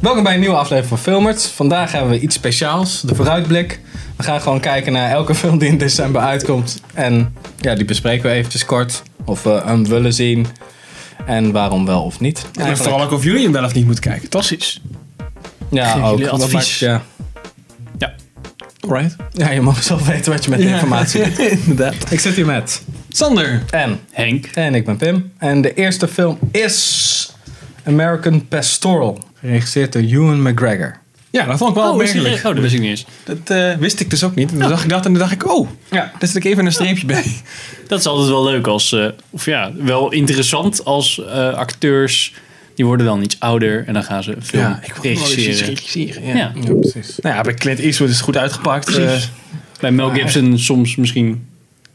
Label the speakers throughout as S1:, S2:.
S1: Welkom bij een nieuwe aflevering van Filmers. Vandaag hebben we iets speciaals, de vooruitblik. We gaan gewoon kijken naar elke film die in december uitkomt. En ja, die bespreken we eventjes kort. Of we hem willen zien. En waarom wel of niet.
S2: En
S1: Eigenlijk.
S2: vooral ook of jullie hem wel of niet moeten kijken. Precies.
S1: ja,
S2: geef
S1: ook.
S2: jullie
S1: Dat
S2: advies.
S1: maakt- ja.
S2: Alright.
S1: ja, je mag zelf weten wat je met de informatie doet.
S2: Inderdaad.
S1: Ik zit hier met
S2: Sander.
S1: en
S3: Henk.
S1: En ik ben Pim. En de eerste film is American Pastoral. Geregisseerd door Ewan McGregor.
S2: Ja, dat vond ik wel
S3: Oh, is die-
S2: opmerkelijk.
S3: oh, dat wist ik niet eens.
S2: Dat eh, wist ik dus ook niet. En toen zag ik dat en toen dacht ik, oh,
S1: Ja.
S2: daar zit ik even een streepje bij.
S3: Dat is altijd wel leuk als, eh, of ja, wel interessant als eh, acteurs, die worden dan iets ouder en dan gaan ze een film regisseren.
S2: regisseren. Ja.
S3: Ja,
S1: Ja, precies.
S2: Nou ja, bij Clint Eastwood is het goed uitgepakt.
S3: Precies.
S2: Eh,
S3: bij Mel Gibson soms misschien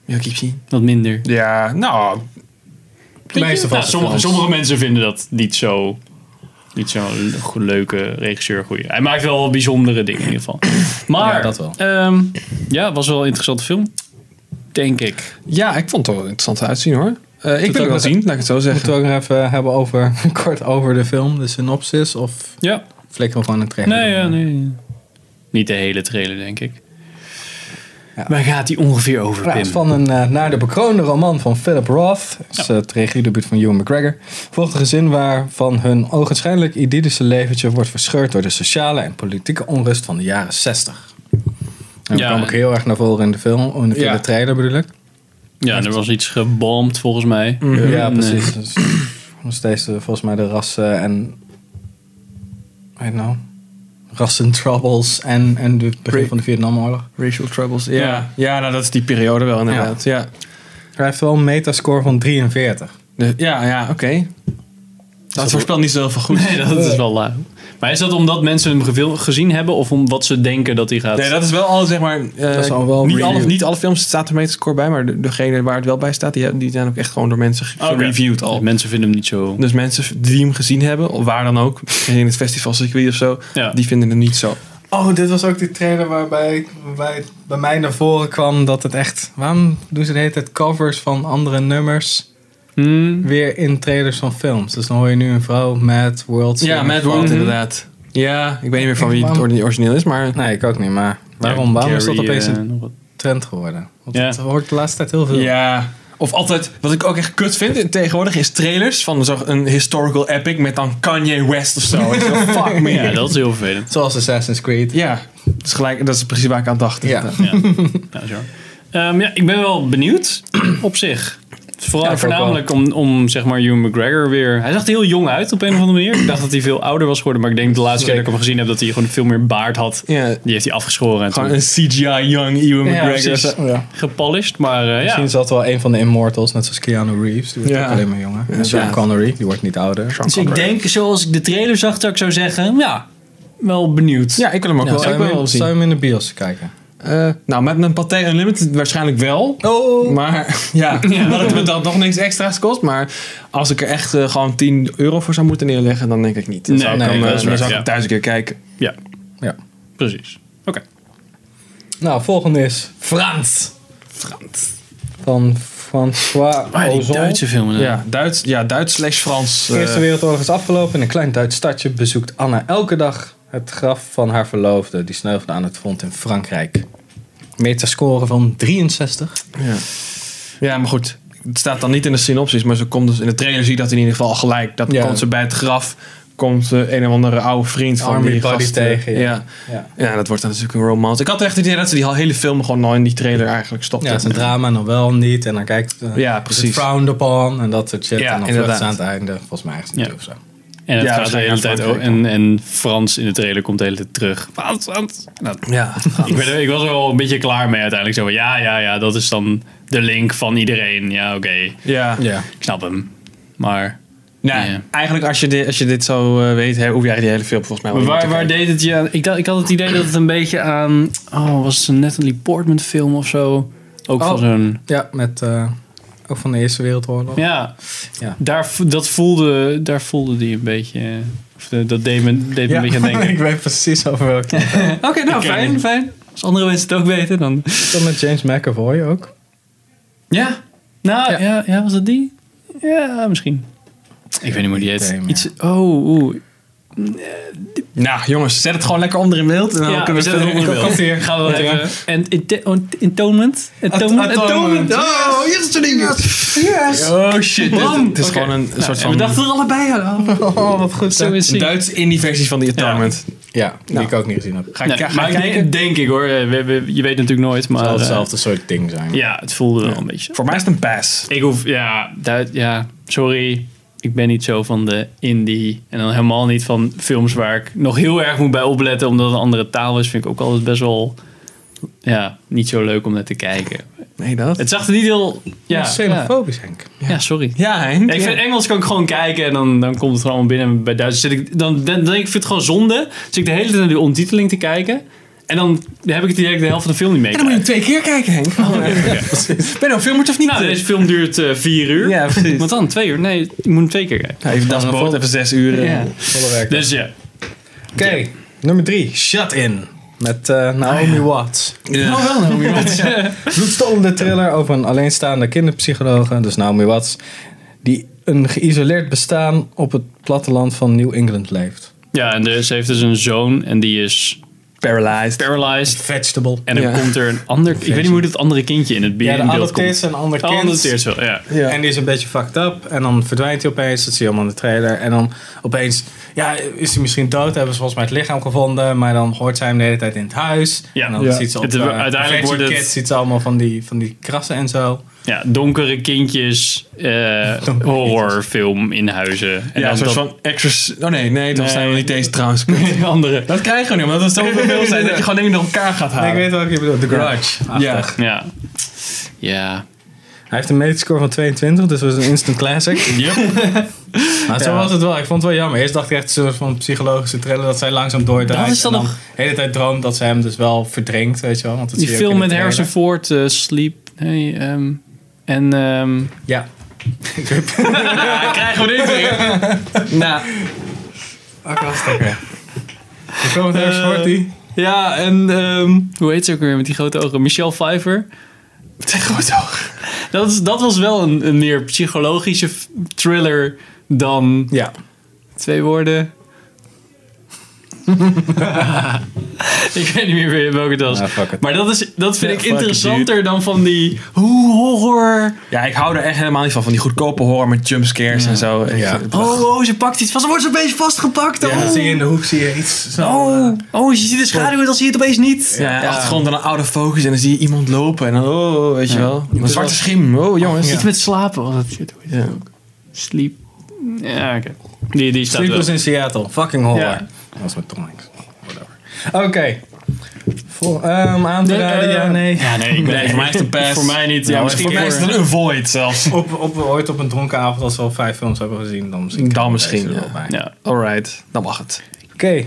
S2: Mel Gibson.
S3: wat minder.
S2: ja, nou,
S1: De meeste van
S3: Nou,
S1: de
S3: sommige,
S1: films.
S3: sommige mensen vinden dat niet zo, niet zo'n le- go- leuke regisseur. Goeie. Hij maakt wel bijzondere dingen in ieder geval. Maar,
S1: Ja, dat wel.
S3: ehm, ja, was wel een interessante film. Denk ik.
S2: ja, ik vond het wel interessant uitzien hoor. Eh, ik wil
S1: ook
S2: het wel
S1: met-
S2: zien, laat ik het zo zeggen.
S1: Moeten we ook nog even hebben over, kort over de film, de synopsis? Of
S3: Ja.
S1: flikken we gewoon een trailer?
S3: Nee, eh,
S1: door?
S3: ja, nee. Niet de hele trailer, denk ik.
S1: Ja.
S3: Waar gaat die ongeveer over,
S1: Ja,
S3: Pim?
S1: het is van een eh, naar de bekroonde roman van Philip Roth. Dat is eh, het regiedebuut van Ewan McGregor. Volgt een gezin waarvan hun ogenschijnlijk idyllische leventje wordt verscheurd door de sociale en politieke onrust van de jaren 60. En dat
S3: Ja,
S1: kwam ook
S3: en-
S1: heel erg naar voren in de film, in de,
S2: Ja.
S1: de trailer bedoel ik.
S3: Ja, er was iets gebomd volgens mij.
S2: Mhm.
S1: Ja,
S3: En,
S1: precies. Dus, nog steeds eh, volgens mij de rassen en. I don't know. Rassen troubles en, en de begin
S2: Pre-
S1: van de Vietnamoorlog.
S2: Racial Troubles. Ja,
S3: Ja.
S2: ja. nou, dat is die periode wel inderdaad. Ja, ja.
S1: Hij heeft wel een metascore van 43.
S2: De- ja, ja, oké. Dat voorspelt niet zo heel veel goed.
S3: eh, nee, dat is wel laag. Maar is dat omdat mensen hem geveel- gezien hebben of omdat ze denken dat hij gaat...
S2: Nee, dat is wel al, zeg maar. eh,
S1: is al wel
S2: niet,
S1: reviewed.
S2: alle, niet alle films staat er meterscore bij, maar de- degene waar het wel bij staat, die, die zijn ook echt gewoon door mensen ge-
S3: Oké.
S2: gereviewd al.
S3: Dus Mensen vinden hem niet zo...
S2: Dus mensen die hem gezien hebben, of waar dan ook, in het festivalcircuit of zo,
S3: Ja.
S2: die vinden het niet zo.
S1: Oh, dit was ook die trailer waarbij bij, bij mij naar voren kwam dat het echt. Waarom doen ze de hele tijd covers van andere nummers
S3: Hmm.
S1: weer in trailers van films? Dus dan hoor je nu een vrouw met World.
S2: Ja,
S1: Singing
S2: Mad
S1: Frog.
S2: World inderdaad. Ja, ik weet niet meer van wie het ordi- origineel is, maar
S1: Nee, ik ook niet, maar waarom,
S3: Ja,
S1: waarom is dat
S3: Jerry,
S1: opeens
S3: eh,
S1: een
S3: nog wat.
S1: trend geworden? Want
S3: Ja.
S1: dat hoor ik de laatste tijd heel veel.
S2: Ja. Of altijd, wat ik ook echt kut vind in- tegenwoordig, is trailers van zo- een historical epic met dan Kanye West of zo. Ik zo, Fuck me.
S3: Ja, dat is heel vervelend.
S1: Zoals Assassin's Creed.
S2: Ja, dat is, gelijk, dat is precies waar ik aan dacht.
S1: Ja.
S3: Ja, nou, zo. Ehm, ja, ik ben wel benieuwd op zich. Vooral,
S1: Ja, ik ook
S3: voornamelijk om, om zeg maar Hugh McGregor weer... Hij zag er heel jong uit op een of andere manier. Ik dacht dat hij veel ouder was geworden. Maar ik denk de laatste keer dat ik hem gezien heb dat hij gewoon veel meer baard had.
S2: Ja,
S3: Die heeft hij afgeschoren en
S2: Gewoon
S3: toen
S2: een CGI young Ewan
S1: Ja,
S2: McGregor.
S3: precies.
S1: Ja.
S3: gepolished. Maar eh,
S1: Misschien
S3: ja,
S1: is dat wel een van de Immortals, net zoals Keanu Reeves. Die wordt
S2: Ja.
S1: ook alleen maar jonger. En Sean
S2: Inderdaad.
S1: Connery, die wordt niet ouder.
S3: dus ik denk zoals ik de trailer zag dat ik zou zeggen... Ja, wel benieuwd.
S2: Ja, ik wil hem ook
S1: Ja,
S2: wel,
S1: zou,
S2: ik
S1: je
S2: wil
S1: hem
S2: wel
S1: in,
S2: zien.
S1: zou je hem in de bios kijken?
S2: Eh, nou, met een Pathé Unlimited waarschijnlijk wel.
S1: Oh!
S2: Maar ja, dat het me dan nog niks extra's kost. Maar als ik er echt eh, gewoon 10 euro voor zou moeten neerleggen, dan denk ik niet. Dan
S3: Nee,
S2: zou ik
S3: nee,
S2: hem, eh,
S3: dat is
S2: dan
S3: waar,
S2: zou ik
S3: ja.
S2: hem thuis een keer kijken.
S3: Ja,
S1: Ja.
S3: precies. Oké.
S1: Nou, volgende is Frans.
S2: Frans.
S1: Van François
S3: Maar die
S1: Ozon.
S3: Duitse filmen.
S2: Ja, Duits, ja, Duits slash Frans.
S1: De
S2: eh,
S1: Eerste Wereldoorlog is afgelopen. In een klein Duits stadje bezoekt Anna elke dag het graf van haar verloofde. Die sneuvelde aan het front in Frankrijk. Metascore van 63.
S2: ja. ja, maar goed. Het staat dan niet in de synopsis, maar ze komt dus in de trailer zie je dat in ieder geval gelijk. Dat
S1: Ja.
S2: komt ze bij het graf, komt eh, een of andere oude vriend van
S1: Army
S2: die
S1: buddy
S2: gast, eh,
S1: tegen, ja.
S2: ja.
S1: Ja,
S2: Ja, dat wordt dan natuurlijk een romance. Ik had echt het idee dat ze die hele film gewoon al in die trailer eigenlijk stopte.
S1: ja het is een drama, nog wel niet. En dan kijkt eh,
S2: Ja,
S1: is het
S2: precies.
S1: frowned upon en dat soort shit.
S2: Ja,
S1: en dan vlucht
S2: inderdaad.
S1: ze aan het einde. Volgens mij is het
S3: Ja.
S1: niet of zo.
S3: En het
S2: Ja,
S3: gaat de hele
S2: waarschijnlijk
S3: tijd
S2: Frankrijk
S3: ook. En, en Frans in de trailer komt de hele tijd terug. Frans, Frans. Nou,
S2: ja.
S3: ik, ben er- ik was er wel een beetje klaar mee uiteindelijk. Zo van, ja, ja, ja, dat is dan de link van iedereen. Ja, oké.
S2: ja.
S1: Ja.
S3: Ik snap hem. Maar
S2: Nou,
S3: Ja.
S2: eigenlijk als je, dit, als je dit zo eh, weet, hè, hoef je eigenlijk die hele film volgens mij wel niet
S3: waar,
S2: te
S3: waar
S2: kijken.
S3: deed het Oh, je aan? Ik, dacht, ik had het idee dat het een beetje aan... Oh, was het een Natalie Portman film of zo? Ook
S1: Oh.
S3: van zo'n...
S1: Ja, met eh, ook van de Eerste Wereldoorlog.
S3: Ja,
S1: Ja.
S3: Daar, vo- dat voelde, daar voelde die een beetje... Of de- dat deed me, deed me
S1: Ja.
S3: een beetje aan denken.
S1: ik weet precies over welke.
S3: Oké, nou
S2: ken
S3: fijn,
S2: hem.
S3: fijn. Als andere mensen het ook weten, dan...
S1: Dan met James McAvoy ook.
S3: Ja. Nou, ja. Ja, was dat die? Ja, misschien. Ik weet niet hoe die heet.
S1: Idee, maar-
S3: Iets, oh, oeh.
S2: Nou, jongens, zet het gewoon lekker onder in beeld. En dan kunnen Nou, we verder onder in beeld.
S1: hier.
S3: Gaan we
S1: Komt-ie,
S3: even. En Entonement? Entonement?
S1: Atonement.
S2: Oh, hier is het ding.
S1: Yes!
S2: Oh shit. dit-
S3: Bam.
S2: Het is
S3: Oké. Nou,
S2: gewoon een soort
S3: En
S2: van
S3: we dachten er allebei aan.
S1: Oh, wat goed.
S3: Zo
S1: hè?
S3: is het.
S2: Duits indie-versie van die Atonement.
S1: Ja, die
S2: Nou.
S1: ik ook niet gezien heb. Het
S2: Ga ik
S3: Nee,
S2: ga ik
S3: maar ik
S2: kijken.
S3: denk, denk ik hoor. Eh, We, we- je weet natuurlijk nooit, maar...
S1: zal
S3: eh,
S1: hetzelfde soort ding zijn.
S3: ja, het voelde wel een beetje.
S2: Voor mij is het een pass.
S3: Ik hoef... Ja, Duits- ja, sorry. Ik ben niet zo van de indie. En dan helemaal niet van films waar ik nog heel erg moet bij opletten. Omdat het een andere taal is. Vind ik ook altijd best wel... Ja, niet zo leuk om naar te kijken.
S2: Nee, dat.
S3: Het zag er niet heel... Ja, ja,
S1: Xenofobisch, Henk.
S3: ja sorry.
S2: Ja, Henk.
S3: Ja, ik
S2: Ja.
S3: vind Engels kan ik gewoon kijken en dan, dan komt het er allemaal binnen. En Bij Duits zit ik, dan, dan, dan- ik vind het gewoon zonde. Zit ik de hele tijd naar die ontiteling te kijken. En dan heb ik het direct de helft van de film niet mee.
S2: En dan moet je hem twee keer kijken, Henk.
S1: Oh,
S2: Ben je nou filmert of niet?
S3: Nou, deze film duurt eh, vier uur.
S2: Ja, precies.
S3: Want dan twee uur? Nee, je moet hem twee keer kijken.
S2: Ja, even dasboot, even zes uur. eh.
S3: Ja.
S1: Volle werk.
S3: Dus ja.
S1: Oké, nummer drie. Shut In. Met eh, Naomi Watts.
S2: Nou wel, nou, weer wat.
S1: Bloedstollende thriller over een alleenstaande kinderpsychologe. Dus Naomi Watts. Die een geïsoleerd bestaan op het platteland van New England leeft.
S3: Ja, en dus, ze heeft dus een zoon en die is
S2: Paralyzed.
S3: paralyzed.
S1: Vegetable.
S3: En dan
S2: Ja.
S3: komt er een ander... Ik weet niet hoe dat andere kindje in het be-
S1: Ja, de
S3: in beeld
S1: adopteert
S3: komt.
S1: is een ander
S3: Oh,
S1: kind.
S3: adopteert ze wel, ja.
S2: Ja.
S1: En die is een beetje fucked up. En dan verdwijnt hij opeens. Dat zie je allemaal in de trailer. En dan opeens ja, is hij misschien dood. Hebben ze volgens mij het lichaam gevonden. Maar dan hoort zij hem de hele tijd in het huis.
S3: Ja.
S1: en dan
S3: Ja.
S1: ziet ze op
S3: Het-
S1: de
S3: uiteindelijk
S1: uiteindelijk
S3: wordt het-
S1: Kids, ziet ze allemaal van die, van die krassen en zo.
S3: Ja, donkere kindjes, eh, horrorfilm in huizen.
S2: Ja,
S3: En dan
S2: een soort
S3: dat-
S2: van extras... Oh nee, nee, dat
S3: Nee.
S2: zijn we niet deze trouwens.
S3: Die andere.
S2: Dat krijgen we nu, omdat het zoveel veel zijn dat je gewoon dingen door elkaar gaat halen.
S1: Nee, ik weet wel wat je bedoelt. The Grudge.
S2: Ja.
S1: Achtig.
S3: Ja. Ja.
S1: Hij heeft een metascore van 22. Dus dat was een instant classic. Maar zo
S2: Ja.
S1: was het wel. Ik vond het wel jammer. Eerst dacht ik echt een soort van psychologische thriller. Dat zij langzaam doordraait.
S3: Dat is dan
S1: en dan
S3: nog-
S1: de hele tijd droomt dat ze hem dus wel verdrinkt. Weet je wel. Want dat
S3: Die
S1: zie je ook
S3: film
S1: in de
S3: met
S1: trailer.
S3: Harrison Ford, eh, Sleep. Nee, ehm, en ehm,
S1: Ja.
S2: Ah, krijgen we dit weer. nou,
S1: Ook wel stekker. Die film met Harrison Ford die...
S2: ja, en... ehm
S3: hoe heet ze ook weer met die grote ogen? Michelle Pfeiffer.
S2: tegenwoordig.
S3: Dat, is, dat was wel een, een meer psychologische f- thriller dan
S1: Ja.
S3: twee woorden. ik weet niet meer weer welke het was.
S2: Nou,
S1: Ah, fuck it.
S3: maar dat, is, dat vind
S2: Ja,
S3: ik
S2: fuck it,
S3: interessanter dan van die hoe horror.
S2: Ja, ik hou er echt helemaal niet van. Van die goedkope horror met jumpscares en zo. Ik
S1: Ja.
S2: vind het
S3: Oh, oh, ze pakt iets vast. Ze wordt zo'n beetje vastgepakt.
S1: Ja, dan
S3: oh.
S1: zie je in de hoek zie je iets. Zo,
S3: Oh,
S1: eh,
S3: oh, je ziet de schaduw en dan zie je het opeens niet.
S2: Ja, achtergrond dan een oude focus en dan zie je iemand lopen en dan, oh, weet je wel. Een
S3: is
S2: zwarte
S3: wel-
S2: schim, oh jongens.
S3: Iets met slapen. Oh, dat shit.
S2: Ja.
S3: Sleep. Ja, oké. Die, die staat
S1: Sleepers
S3: wel.
S1: in Seattle. Fucking horror.
S3: Ja.
S1: Dat was met Tom Hanks. Whatever. Oké. Voor ehm aan te
S3: Nee,
S1: raden,
S3: eh,
S1: ja, nee.
S3: Ja, nee, ik ben,
S2: Nee, voor mij is het een pass.
S3: Voor mij niet. Ja,
S2: Nou,
S3: misschien
S2: voor mij is
S3: voor-
S2: het een void zelfs.
S1: Op, op, ooit op een dronken avond, als we al vijf films hebben gezien, dan misschien.
S2: Dan
S1: komen
S2: misschien,
S1: deze er wel
S2: ja.
S1: bij.
S3: Ja.
S2: Alright, dan mag het.
S1: Oké,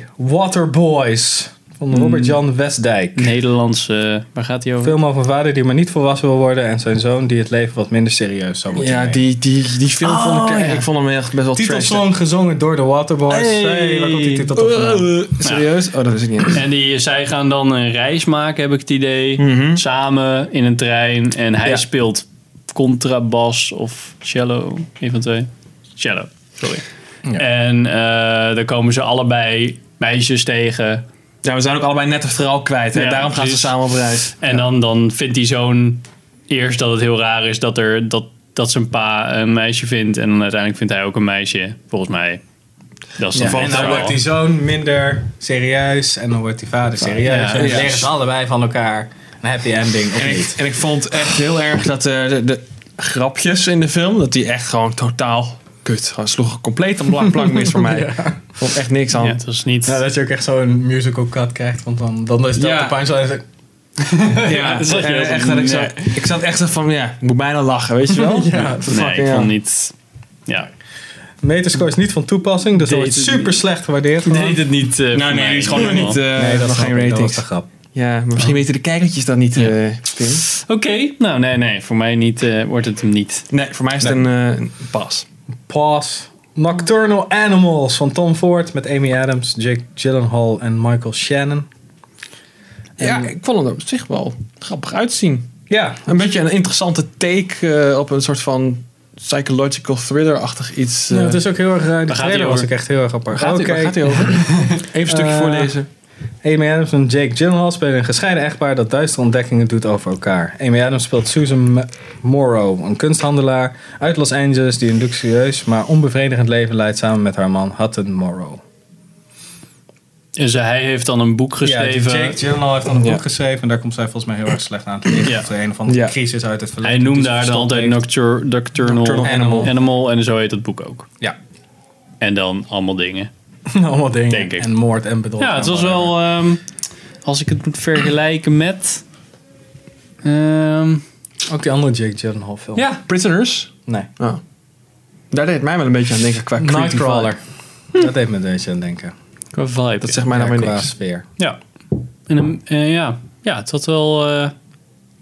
S1: Waterboys. Van Robert-Jan
S3: Hmm.
S1: Westdijk.
S3: Nederlands, eh, waar gaat hij over?
S1: Film over een vader die maar niet volwassen wil worden en zijn zoon die het leven wat minder serieus zou moeten
S2: Ja,
S1: nemen.
S2: die, die, die film vond ik,
S3: Oh, ja.
S2: ik vond hem echt best wel trash.
S1: Titelsong gezongen door de Waterboys. Hey, waar komt die titel toch vandaan?
S2: Eh, Serieus? Oh, dat is ik niet.
S3: En die, zij gaan dan een reis maken, heb ik het idee. Samen in een trein. En hij
S2: Ja.
S3: speelt contrabas of cello. Een van de twee. Cello, sorry.
S1: Ja.
S3: En eh dan komen ze allebei meisjes tegen.
S2: Ja, we zijn ook allebei net de vrouw kwijt. Hè?
S3: Ja,
S2: Daarom gaan ze
S3: precies.
S2: samen op reis.
S3: En dan, dan vindt die zoon eerst dat het heel raar is dat, er, dat, dat zijn pa een meisje vindt. En dan uiteindelijk vindt hij ook een meisje, volgens mij. Dat is dan
S1: Ja,
S3: van
S1: en
S3: het
S1: dan wordt
S3: verhaal.
S1: die zoon minder serieus en dan wordt die vader serieus.
S3: Ja,
S1: en dan
S2: ja.
S1: liggen ze allebei van elkaar. Een happy ending of
S2: En ik,
S1: niet.
S2: en ik vond echt heel erg dat eh, de, de grapjes in de film, dat die echt gewoon totaal kut. Gewoon sloegen compleet een blank plank mis voor mij. Vond echt niks aan.
S3: Ja, dat is niet...
S1: Nou, dat je ook echt zo'n musical cut krijgt, want dan, dan is dat
S2: Ja.
S1: de punchline. is ook-
S2: Ja,
S3: dat zag je
S2: en
S3: ook.
S2: echt, dat ik, zo,
S3: Nee.
S2: ik zat echt zo van, ja, ik moet bijna lachen, weet je wel?
S1: Ja,
S3: nee, ik
S2: ja.
S3: vond niet... Ja,
S1: Metascore is niet van toepassing, dus dat
S3: Deed
S1: wordt
S3: het
S1: super slecht gewaardeerd. gewoon.
S3: deed het niet. eh,
S2: Nou
S3: voor
S2: nee,
S3: mij
S2: die is gewoon nog
S3: helemaal.
S2: niet, eh
S1: Nee, dat is
S2: nog geen
S1: geen
S2: ratings.
S1: rating. grap.
S2: Ja, maar misschien weten de kijkertjes dat niet, eh, Tim.
S3: Oké, nou nee, nee, voor mij niet, eh, wordt het hem niet.
S2: Nee, voor mij is het een, eh, een pas.
S1: Pas. Nocturnal Animals van Tom Ford met Amy Adams, Jake Gyllenhaal en Michael Shannon.
S2: Ja, ik vond het op zich wel grappig uitzien.
S1: Ja,
S2: Een beetje een interessante take eh, op een soort van psychological thriller-achtig iets.
S1: Ja,
S2: eh,
S1: het is ook heel erg. eh, De
S3: Waar gaat
S1: trailer
S3: hij
S1: was
S3: over?
S1: ook echt heel erg apart.
S2: gaat,
S1: Oké.
S2: waar gaat hij over? Even een stukje
S1: Eh,
S2: voorlezen.
S1: Amy Adams en Jake Gyllenhaal spelen een gescheiden echtpaar dat duistere ontdekkingen doet over elkaar. Amy Adams speelt Susan M- Morrow, een kunsthandelaar uit Los Angeles die een luxueus maar onbevredigend leven leidt samen met haar man Hutton Morrow.
S3: Dus hij heeft dan een boek geschreven.
S1: Jake Gyllenhaal heeft dan een boek
S2: Ja.
S1: geschreven en daar komt zij volgens mij heel erg slecht aan te liggen.
S3: Ja.
S1: Voor een of andere
S2: Ja.
S1: crisis uit het verleden.
S3: hij
S1: die
S3: noemde
S1: ze
S3: haar dan
S1: verstopt
S3: altijd
S1: heeft.
S3: noctur- Nocturnal,
S1: Nocturnal Animal.
S3: Animal en zo heet het boek ook.
S1: Ja,
S3: En dan allemaal dingen.
S1: allemaal dingen.
S3: Denk ik.
S1: En moord en bedrog.
S3: Ja,
S1: en
S3: het was
S1: whatever.
S3: wel. ehm, als ik het moet vergelijken met. ehm,
S1: Ook die andere Jake Gyllenhaal film.
S2: Ja, Prisoners.
S1: Nee.
S2: Oh. Daar deed het mij wel een beetje aan denken qua creepy
S1: Nightcrawler. Dat heeft me deze aan denken.
S3: qua vibe.
S2: vibe. Dat zegt mij nou
S1: Ja,
S2: weer
S1: qua
S2: niks.
S1: sfeer.
S3: Ja. En, een- eh, ja. ja, het had wel eh,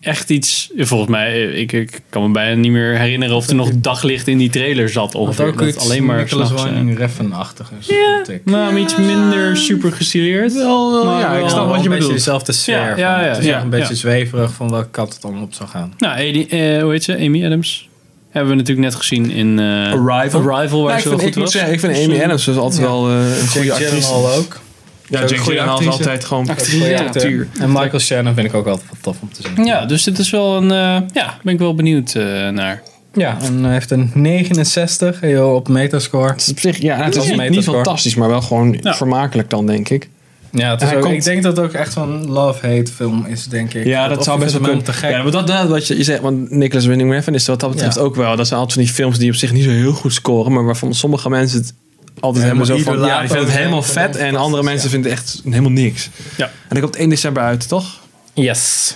S3: echt iets. Volgens mij, eh, ik, ik kan me bijna niet meer herinneren of er nog daglicht in die trailer zat. Of
S1: Want ook
S3: dat
S1: iets
S3: alleen maar.
S1: Nicholas
S3: s'nachts, eh,
S1: Winding Refn-achtig is.
S3: Ja,
S1: vond ik.
S3: nou, maar iets minder super gestileerd.
S2: Wel, wel,
S3: Maar
S2: ja, ik
S3: wel-
S2: snap
S1: Wel
S2: wat je
S1: een beetje
S2: bedoelt.
S1: dezelfde sfeer.
S3: Ja,
S1: van
S3: ja,
S1: het.
S3: ja,
S1: het is
S3: ja,
S1: echt een beetje
S3: ja.
S1: zweverig van welke kant het dan op zou gaan.
S3: Nou, Amy, eh, hoe heet ze? Amy Adams. Hebben we natuurlijk net gezien in eh,
S2: Arrival.
S3: Arrival, waar
S2: Nou, ik,
S3: ze wel
S2: vind, ik
S3: goed
S2: moet
S3: was.
S2: zeggen, ik vind Amy Adams dus altijd wel eh, een goede actrice.
S1: ook.
S2: Ja,
S1: Ook een
S2: Jake
S1: goede
S2: Gyllenhaal is
S1: actrice.
S2: altijd gewoon
S1: Actrice,
S2: Ja,
S1: acteur.
S2: acteur.
S1: En Michael Shannon vind ik ook altijd wat tof om te zien.
S3: Ja, dus dit is wel een. eh, ja, ben ik wel benieuwd eh, naar.
S1: Ja, en hij heeft een 69 heel op metascore.
S2: Het is op zich, ja, het is
S1: Ja.
S2: niet, niet fantastisch, maar wel gewoon
S3: Ja.
S2: vermakelijk dan, denk ik.
S1: Ja, het is
S2: Hij
S1: ook,
S2: komt-
S1: ik denk dat het ook echt zo'n love-hate film is, denk ik.
S2: Ja, dat, zou
S1: of ik
S2: best
S1: vind hem
S2: wel kunnen.
S1: Te gek.
S2: Ja, maar dat, dat wat je, je zegt, want Nicholas Winding Refn is wat dat betreft
S1: Ja.
S2: ook wel. Dat zijn altijd van die films die op zich niet zo heel goed scoren, maar waarvan sommige mensen het altijd
S1: Helemaal
S2: helemaal zo van,
S1: idolaat
S2: ja, die vinden
S1: over
S2: het helemaal
S1: zijn,
S2: vet en
S1: fantastisch,
S2: andere mensen
S1: ja.
S2: vinden het echt helemaal niks.
S3: Ja.
S2: En dat komt 1 december uit, toch?
S1: Yes.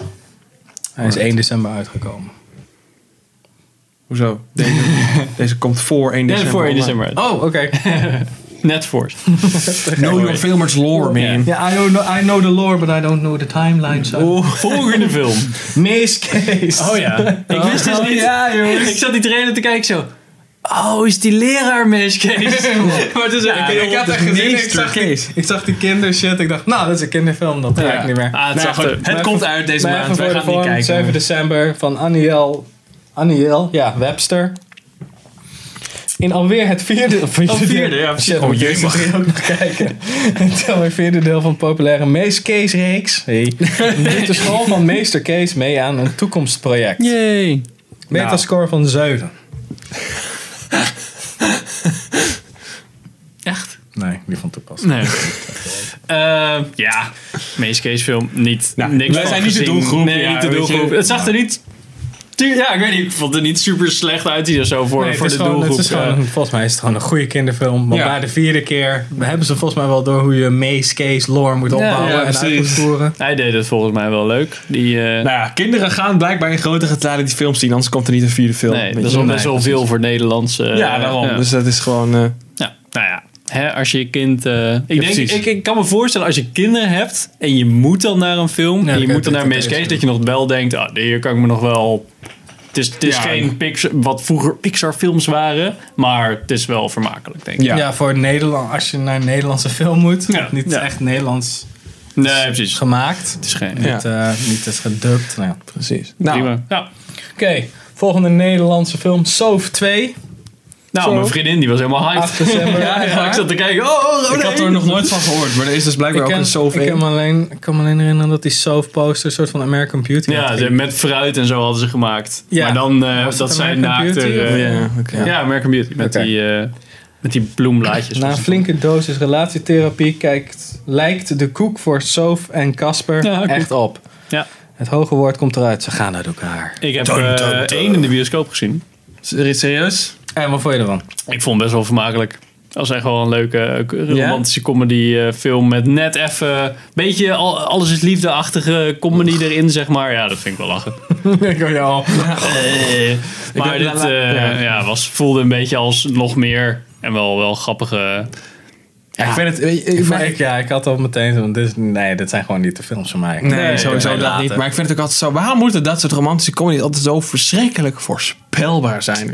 S1: Hij is 1 december uitgekomen.
S2: Hoezo? Deze, deze komt voor 1
S3: Net
S2: december.
S3: voor 1
S2: online.
S3: december.
S1: Oh, oké.
S3: Net voor.
S2: Know your filmers lore,
S3: Ja.
S2: man.
S1: Ja, I, know, I know the lore, but I don't know the timeline. So.
S3: Volgende film.
S1: Miss Case.
S3: Oh ja. Ik wist dus
S1: Oh,
S3: niet.
S1: ja, jongens.
S3: ik zat die trailer te kijken zo. Oh, is die leraar miskees? maar het is
S1: Ja, ik, ik had echt gezien, ik zag, die, ik zag die kindershit. Ik dacht, nou, dat is een kinderfilm, dat ga ik niet meer.
S3: Ah, het,
S2: Nou ja,
S3: zag er-
S2: goed.
S3: het
S1: Maar
S3: komt
S1: even-
S3: uit deze
S1: Maar even
S3: maand. Wij
S1: voor de
S3: gaan het niet
S1: vorm, 7
S3: kijken.
S1: december van Aniel, Aniel, ja, Webster. In alweer het vierde... Of vierde,
S3: vierde, ja, precies.
S1: Shit,
S2: Oh,
S1: oh,
S2: jee,
S1: jezus,
S2: mag.
S1: mag je ook nog kijken. Het is alweer vierde deel van populaire Mees Kees reeks. Hey. Doet de school van meester Kees mee aan een toekomstproject.
S3: Yay. Nou.
S1: Metascore van 7.
S3: Echt?
S1: Nee, niet van toepassing.
S3: Nee. Eh, ja, meest case film niet.
S2: Nou,
S3: niks
S2: wij
S3: van
S2: zijn niet de
S3: gezien.
S2: doelgroep,
S3: Nee,
S2: ja,
S3: niet de
S2: weet je.
S3: doelgroep. Het zag er niet. tuur- Ja, ik weet niet. Ik vond het er niet super slecht uitzien of zo voor,
S1: Nee,
S3: voor
S1: het
S3: de
S1: is gewoon, het
S3: doelgroep.
S1: is gewoon, een- volgens mij is het gewoon een goede kinderfilm. Maar
S2: Ja.
S1: bij de vierde keer hebben ze volgens mij wel door hoe je Mace Case lore moet opbouwen
S2: ja,
S1: en uit moet
S2: precies.
S1: voeren.
S3: Hij deed het volgens mij wel leuk. Die, eh,
S2: Nou ja, kinderen gaan blijkbaar in grote getalen die films zien, anders komt er niet een vierde film.
S3: nee,
S2: Weet
S3: dat
S2: je
S3: is wel
S2: wel.
S3: best wel veel voor Nederlandse. eh,
S2: Ja, daarom.
S3: ja.
S2: Dus dat is gewoon... eh,
S3: Ja, nou ja, hè, als je je kind. eh, ik, denk,
S2: precies.
S3: ik, ik kan me voorstellen, als je kinderen hebt en je moet dan naar een film.
S1: Ja,
S3: en
S1: dan
S3: je
S1: kan
S3: moet dan
S1: je
S3: naar
S1: dit
S3: Miss
S1: ook
S3: Case,
S1: eens
S3: dat je nog wel denkt: ah, nee, hier kan ik me nog wel. Het is, het is
S2: Ja,
S3: geen
S2: ja.
S3: Pixar, wat vroeger Pixar-films waren, maar het is wel vermakelijk, denk ik.
S1: Ja.
S2: Ja.
S1: voor Nederland, als je naar een Nederlandse film moet,
S3: Ja.
S1: niet
S3: Ja.
S1: echt Nederlands
S3: Nee, precies.
S1: gemaakt.
S3: Het is geen.
S2: Ja.
S1: Niet, eh, niet is gedubt. Nou. ja. Oké,
S2: Precies. Nou,
S3: Prima. Ja.
S1: volgende Nederlandse film, Soof 2.
S3: Nou,
S1: Zo.
S3: mijn vriendin die was helemaal hyped.
S1: 8 december.
S3: Ja,
S1: Echt waar?
S3: ik zat te kijken. Oh, oh, oh,
S2: ik had
S3: nee.
S2: er nog nooit van gehoord, maar er is dus blijkbaar
S1: Ik
S2: ook
S1: ken,
S2: een
S1: ik,
S2: zoveel.
S1: ken me alleen, ik kan me alleen herinneren dat die Soof poster een soort van American Beauty
S3: Ja,
S1: had.
S3: ze- met fruit en zo hadden ze gemaakt.
S1: Ja.
S3: Maar dan eh, dat
S1: het
S3: zij
S1: American
S3: naakt
S1: Beauty
S3: er,
S1: of-
S3: eh,
S2: Ja, oké. Nou,
S3: Ja, American Beauty. Met,
S1: Oké.
S3: die, eh, met die bloemblaadjes.
S1: Na een flinke dosis relatietherapie kijkt, lijkt de koek voor Soof en Casper
S3: Ja, klopt.
S1: echt op.
S3: Ja.
S1: Het hoge woord komt eruit, ze gaan uit elkaar.
S3: Ik heb
S2: Dun, dun,
S3: eh,
S2: dun.
S3: één in de bioscoop gezien.
S2: Serieus?
S1: En wat vond je ervan?
S3: Ik vond het best wel vermakelijk. Dat was echt wel een leuke eh,
S2: Ja?
S3: romantische comedy eh, film met net even... Beetje al- alles is liefdeachtige comedy erin, zeg maar. Ja, dat vind ik wel lachen.
S1: ik wil jou al.
S3: Eh, maar
S2: Ik heb-
S3: dit eh,
S2: Ja.
S3: ja, was, voelde een beetje als nog meer en wel, wel grappige...
S2: Ja, ik vind het. Ik, ik,
S1: Ik,
S2: maar-
S1: ik- ja, ik had al meteen zo'n, dit, is- nee, dit zijn gewoon niet de films van mij.
S2: nee,
S3: nee,
S2: sowieso
S1: nee,
S2: dat
S1: later.
S2: niet. Maar ik vind het ook altijd zo. Waarom moeten dat soort romantische comedies altijd zo verschrikkelijk voorspelbaar zijn?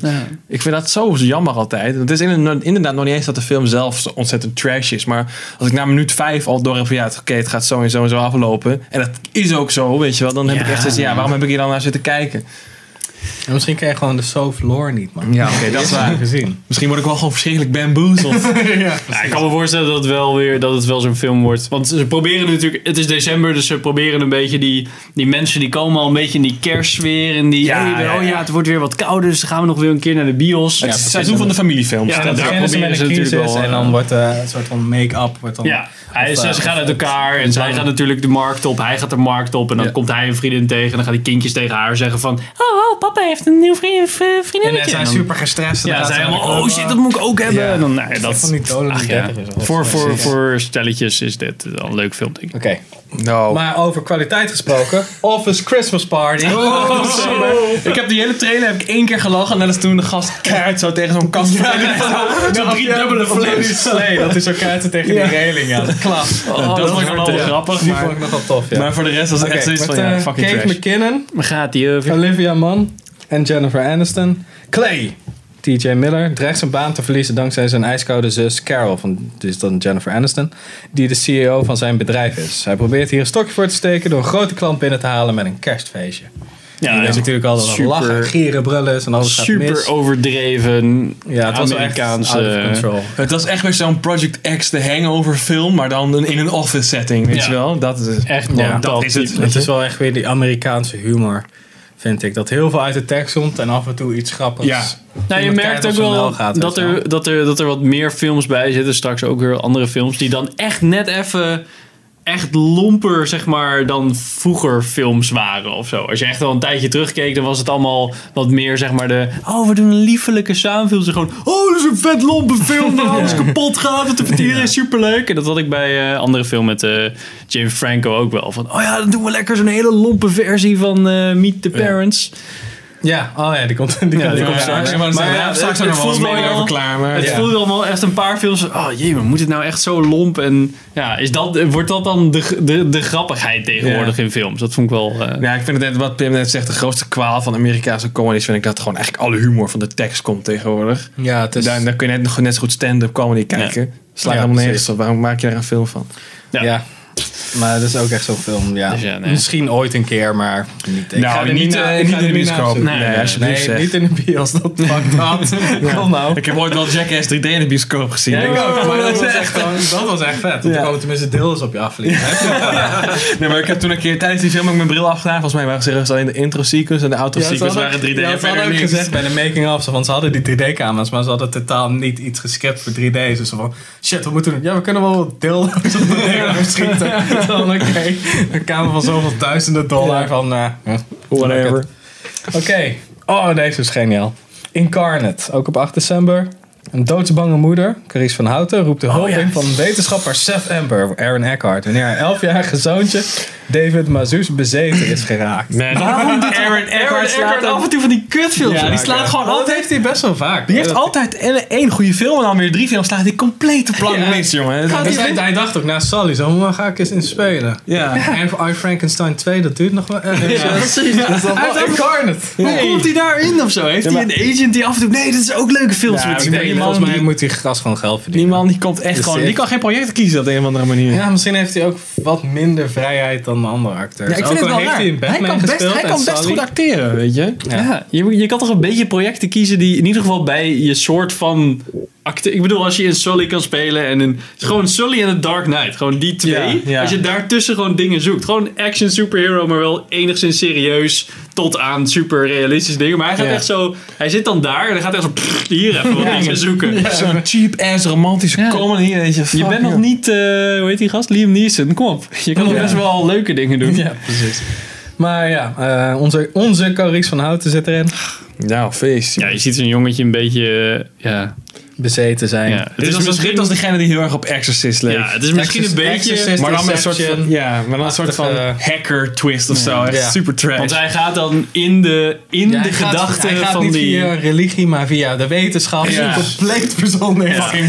S2: Ik vind dat zo jammer altijd. Het is inder- inderdaad nog niet eens dat de film zelf zo ontzettend trash is. Maar als ik na minuut vijf al door heb van ja, het- oké, het gaat zo en zo en zo aflopen. En dat is ook zo, weet je wel. Dan heb ik
S3: Ja.
S2: echt zoiets ja, waarom heb ik hier dan naar zitten kijken?
S1: En misschien ken je gewoon de soft lore niet, man.
S2: Ja, oké, dat is waar.
S1: Gezien.
S2: Misschien word ik wel gewoon verschrikkelijk bamboezeld.
S3: Ja, ik kan me voorstellen dat het wel weer dat het wel zo'n film wordt. Want ze proberen natuurlijk, het is december, dus ze proberen een beetje die, die mensen die komen al een beetje in die kerstsfeer. En die,
S2: Ja,
S3: oh, je bent-
S2: ja,
S3: oh
S2: ja.
S3: ja, het wordt weer wat kouder, dus dan gaan we nog weer een keer naar de bios.
S2: Het
S3: Ja,
S2: is het seizoen van de familiefilms.
S3: Ja,
S1: Dan
S3: daar
S1: beginnen ze
S3: proberen
S1: met
S3: ze
S1: een crisis
S3: natuurlijk wel,
S1: en
S3: eh,
S1: dan wordt eh, een soort van make-up. Wordt dan,
S3: ja. Hij,
S1: Of,
S3: ze,
S1: eh,
S3: ze gaan uit elkaar en zij
S1: dan-
S3: gaat natuurlijk de markt op, hij gaat de markt op en dan
S2: Ja.
S3: komt hij een vriendin tegen en dan gaan die kindjes tegen haar zeggen van oh, oh papa heeft een nieuw vriend, v-
S1: En zij
S3: vriendinnetje.
S1: zijn
S3: En dan-
S1: super gestrest. en
S3: ja,
S1: dan
S3: zij
S1: gaat ze
S3: helemaal,
S1: naar de
S3: oh
S1: club.
S3: shit, dat moet ik ook hebben.
S2: Ja.
S3: En dan, nou ja, dat,
S1: van die dolen die
S3: ach ja.
S1: 30 is, of
S3: Voor,
S1: zo.
S3: voor,
S1: Precies.
S3: voor stelletjes is dit wel een leuk film, denk ik.
S1: Oké,
S2: No.
S1: maar over kwaliteit gesproken. Office Christmas Party.
S2: Ik heb die hele trailer heb ik één keer gelachen. En dat is toen de gast keihard zo tegen zo'n kast.
S1: Zo'n driedubbele fles. Nee, dat is zo'n kaarten tegen die reling. Ja. Dat klapt.
S3: Oh, dat, was wel
S2: ja.
S3: grappig,
S1: Die
S3: maar...
S1: vond ik nogal tof, ja.
S2: Maar voor de rest was het
S1: Oké,
S2: echt zoiets
S1: met,
S2: van, ja,
S1: eh,
S2: fucking
S1: Kate
S2: trash.
S1: McKinnon,
S3: Waar gaat die eh, over?
S1: Olivia Mann en Jennifer Aniston. Clay, TJ Miller, dreigt zijn baan te verliezen dankzij zijn ijskoude zus Carol, van, dus dan Jennifer Aniston, die de CEO van zijn bedrijf is. Hij probeert hier een stokje voor te steken door een grote klant binnen te halen met een kerstfeestje.
S3: Ja,
S1: die
S3: dat
S1: is
S3: is
S1: natuurlijk altijd
S3: super-
S1: super, lachen, gieren, brullen en alles gaat mis.
S3: super overdreven
S1: ja, het was wel echt out
S3: Amerikaanse...
S1: of control.
S2: Het was echt weer zo'n Project X, de hangover film, maar dan een- in een office setting, weet
S3: Ja.
S2: je wel? Dat is het.
S3: Echt gewoon
S1: Ja,
S3: dat is het.
S1: Het is wel echt weer die Amerikaanse humor, vind ik. Dat heel veel uit de tekst komt en af en toe iets grappigs.
S2: Ja.
S3: Nou, je
S1: Iemand
S3: merkt
S1: kijkt
S3: ook
S1: of ze
S3: wel
S1: gaat,
S3: dat,
S1: weet je wel.
S3: er, dat, er, dat er wat meer films bij zitten. Straks ook weer andere films. Die dan echt net even... Echt lomper, zeg maar, dan vroeger films waren of zo. Als je echt al een tijdje terugkeek, dan was het allemaal wat meer, zeg maar, de... Oh, we doen een liefelijke samenfilm. Ze gewoon, oh, dat is een vet lompe film waar alles kapot gaat. Het vertieren is superleuk. En dat had ik bij eh, andere film met eh, James Franco ook wel. Van, oh ja, dan doen we lekker zo'n hele lompe versie van eh, Meet the Parents.
S1: Ja, oh ja, die komt, die komt,
S3: die
S1: er
S3: komt
S1: aan.
S3: straks.
S1: Ja, maar-
S3: Maar ja,
S2: straks
S3: het-
S2: nog
S3: het
S2: wel
S3: voelt
S2: meer
S3: wel-
S2: over klaar, maar...
S3: Het
S1: Ja.
S3: voelde allemaal echt een paar films. Oh jee, maar moet het nou echt zo lomp? En ja, is dat, wordt dat dan de, de, de grappigheid tegenwoordig in films? Dat vond ik wel. eh,
S2: Ja, ik vind het net wat Pim net zegt, de grootste kwaal van Amerikaanse comedies vind ik dat gewoon eigenlijk alle humor van de tekst komt tegenwoordig.
S1: Ja, het is...
S2: Daar, daar kun je net, nog net zo goed stand-up comedy kijken. Slaat
S1: Ja,
S2: helemaal nergens
S1: precies.
S2: op. Waarom maak je daar een film van?
S1: ja. Maar het is ook echt zo'n film, ja.
S3: Dus ja, nee.
S1: Misschien ooit een keer, maar niet. Ik
S2: Nou,
S1: ga er
S2: niet,
S1: na-
S2: eh,
S1: ik
S2: niet
S1: ga
S2: in
S1: er
S2: de
S1: niet
S2: bioscoop.
S1: naar
S2: Nee, nee,
S1: zoeken. Nee,
S2: alsjeblieft, zeg.
S1: niet in de bios, dat fuck dat. Kom nou.
S2: Ik heb ooit wel Jackass 3D in de bioscoop gezien.
S1: Ja, ik
S2: Ik-
S1: ook, maar dat was echt, gewoon- dat was echt vet. Want
S2: Ja.
S1: er komen tenminste deels op je afvliegen.
S2: Nee, maar ik heb toen een keer tijdens die film ook mijn bril afgedaan. Volgens mij waren ze serieus alleen de intro-sequence en de outro-sequence waren 3D.
S1: Ja,
S2: en
S1: ze hadden
S2: verder
S1: ook
S2: niks.
S1: gezegd bij de making-of, zo van, ze hadden die 3D-camera's, maar ze hadden totaal niet iets gescript voor 3D. Dus zo van, shit, wat moeten we doen? Ja, we kunnen wel wat dildo's op de deur schieten. Dan, oké, een camera van zoveel duizenden dollar van, eh,
S2: Whatever.
S1: Oké. Oh, deze is geniaal. Incarnate, ook op 8 december. Een doodsbange moeder, Carice van Houten, roept
S2: Oh,
S1: de hulp in van wetenschapper Seth Amber, Aaron Eckhart, wanneer haar 11-jarige zoontje David Mazouz bezeten is geraakt.
S2: Waarom doet Aaron Eckhart slaat af en toe van die kutfilms? Ja, die slaat gewoon
S1: Oh, Dat
S2: altijd...
S1: heeft hij best wel vaak.
S2: Die heeft altijd en- één goede film en dan weer drie films slaat die complete plank
S1: Ja.
S2: mis, jongen. Dat
S1: Dus
S2: is-
S1: hij, hij dacht ook na Sally, zo "Maar ga ik eens in spelen.
S2: Ja.
S1: En voor I Frankenstein 2, dat duurt nog wel. eh, eh, ja. Hij heeft Incarnate.
S3: Hoe komt hij daarin of zo? Heeft hij een agent die af en toe. Nee, dat is ook leuke films.
S2: Ja,
S3: met die
S2: ik denk-
S3: spelen.
S1: Volgens
S2: man
S1: mij
S2: die-
S1: moet die gast gewoon geld verdienen.
S2: Die man die komt echt
S1: Dus
S2: gewoon...
S1: die-
S2: Die kan geen project kiezen op de een of andere manier.
S1: Ja, misschien heeft hij ook wat minder vrijheid dan de andere acteurs.
S2: Ja, ik vind
S1: ook
S2: het
S1: al
S2: wel
S1: heeft
S2: raar.
S1: hij in
S2: Hij
S1: Batman
S2: kan best,
S1: gespeeld
S2: hij
S1: en
S2: kan best
S1: Sully.
S2: goed acteren, weet je.
S1: Ja.
S3: Ja, je, je kan toch een beetje projecten kiezen die in ieder geval bij je soort van acte. Ik bedoel, als je in Sully kan spelen en in. Gewoon Sully en The Dark Knight. Gewoon die twee.
S2: Ja, ja.
S3: Als je daartussen gewoon dingen zoekt. Gewoon action superhero, maar wel enigszins serieus. Tot aan super realistische dingen. Maar hij gaat
S2: Ja.
S3: echt zo. Hij zit dan daar en dan gaat hij echt zo. pff, hier even wat dingen zoeken.
S2: Zo'n cheap-ass romantische
S3: Ja.
S2: comedy, weet je.
S3: Je
S2: fuck,
S3: bent nog
S2: joh.
S3: niet, eh, hoe heet die gast? Liam Neeson. Kom op. Je kan nog
S1: Oh, Ja.
S3: best wel leuke dingen doen.
S1: Ja, precies. Maar ja, eh, onze, onze Carice van Houten zit erin.
S2: Nou, feest.
S3: Ja, je ziet zo'n jongetje een beetje. eh, ja.
S1: Bezeten zijn.
S3: ja.
S2: Dit was, misschien... dit was degene die heel erg op Exorcist leek.
S3: ja, het is misschien een
S1: Exorcist-
S3: beetje.
S1: Exorcist
S2: maar dan met een soort
S1: Deception.
S2: van, ja, maar dan een soort van
S1: Achtige-
S2: hacker twist of zo. Echt
S1: Ja.
S2: super trash.
S3: Want hij gaat dan in de, in
S1: Ja,
S3: de
S1: hij gaat-
S3: gedachten
S1: hij gaat
S3: van
S1: niet
S3: die.
S1: via religie, maar via de wetenschap.
S2: Ja.
S1: Compleet verzonnen.
S2: Fucking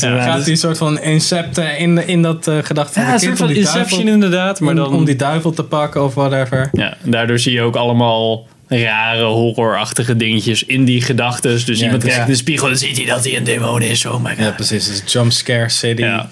S1: Gaat hij,
S2: ja,
S1: gaat
S2: dus-
S1: hij een soort van incepten in, in dat eh gedachte
S3: Ja,
S1: van
S3: een
S1: de
S3: soort
S1: kind.
S3: van
S1: om die duivel-
S3: Inception inderdaad, maar dan...
S1: om, om die duivel te pakken of whatever.
S3: ja, daardoor zie je ook allemaal rare horrorachtige dingetjes in die gedachten. Dus
S1: Ja,
S3: iemand
S1: ja.
S3: kijkt in de spiegel en ziet hij dat hij een demon is. Oh my god.
S1: Ja, precies. Het is jumpscare city.
S3: Ja.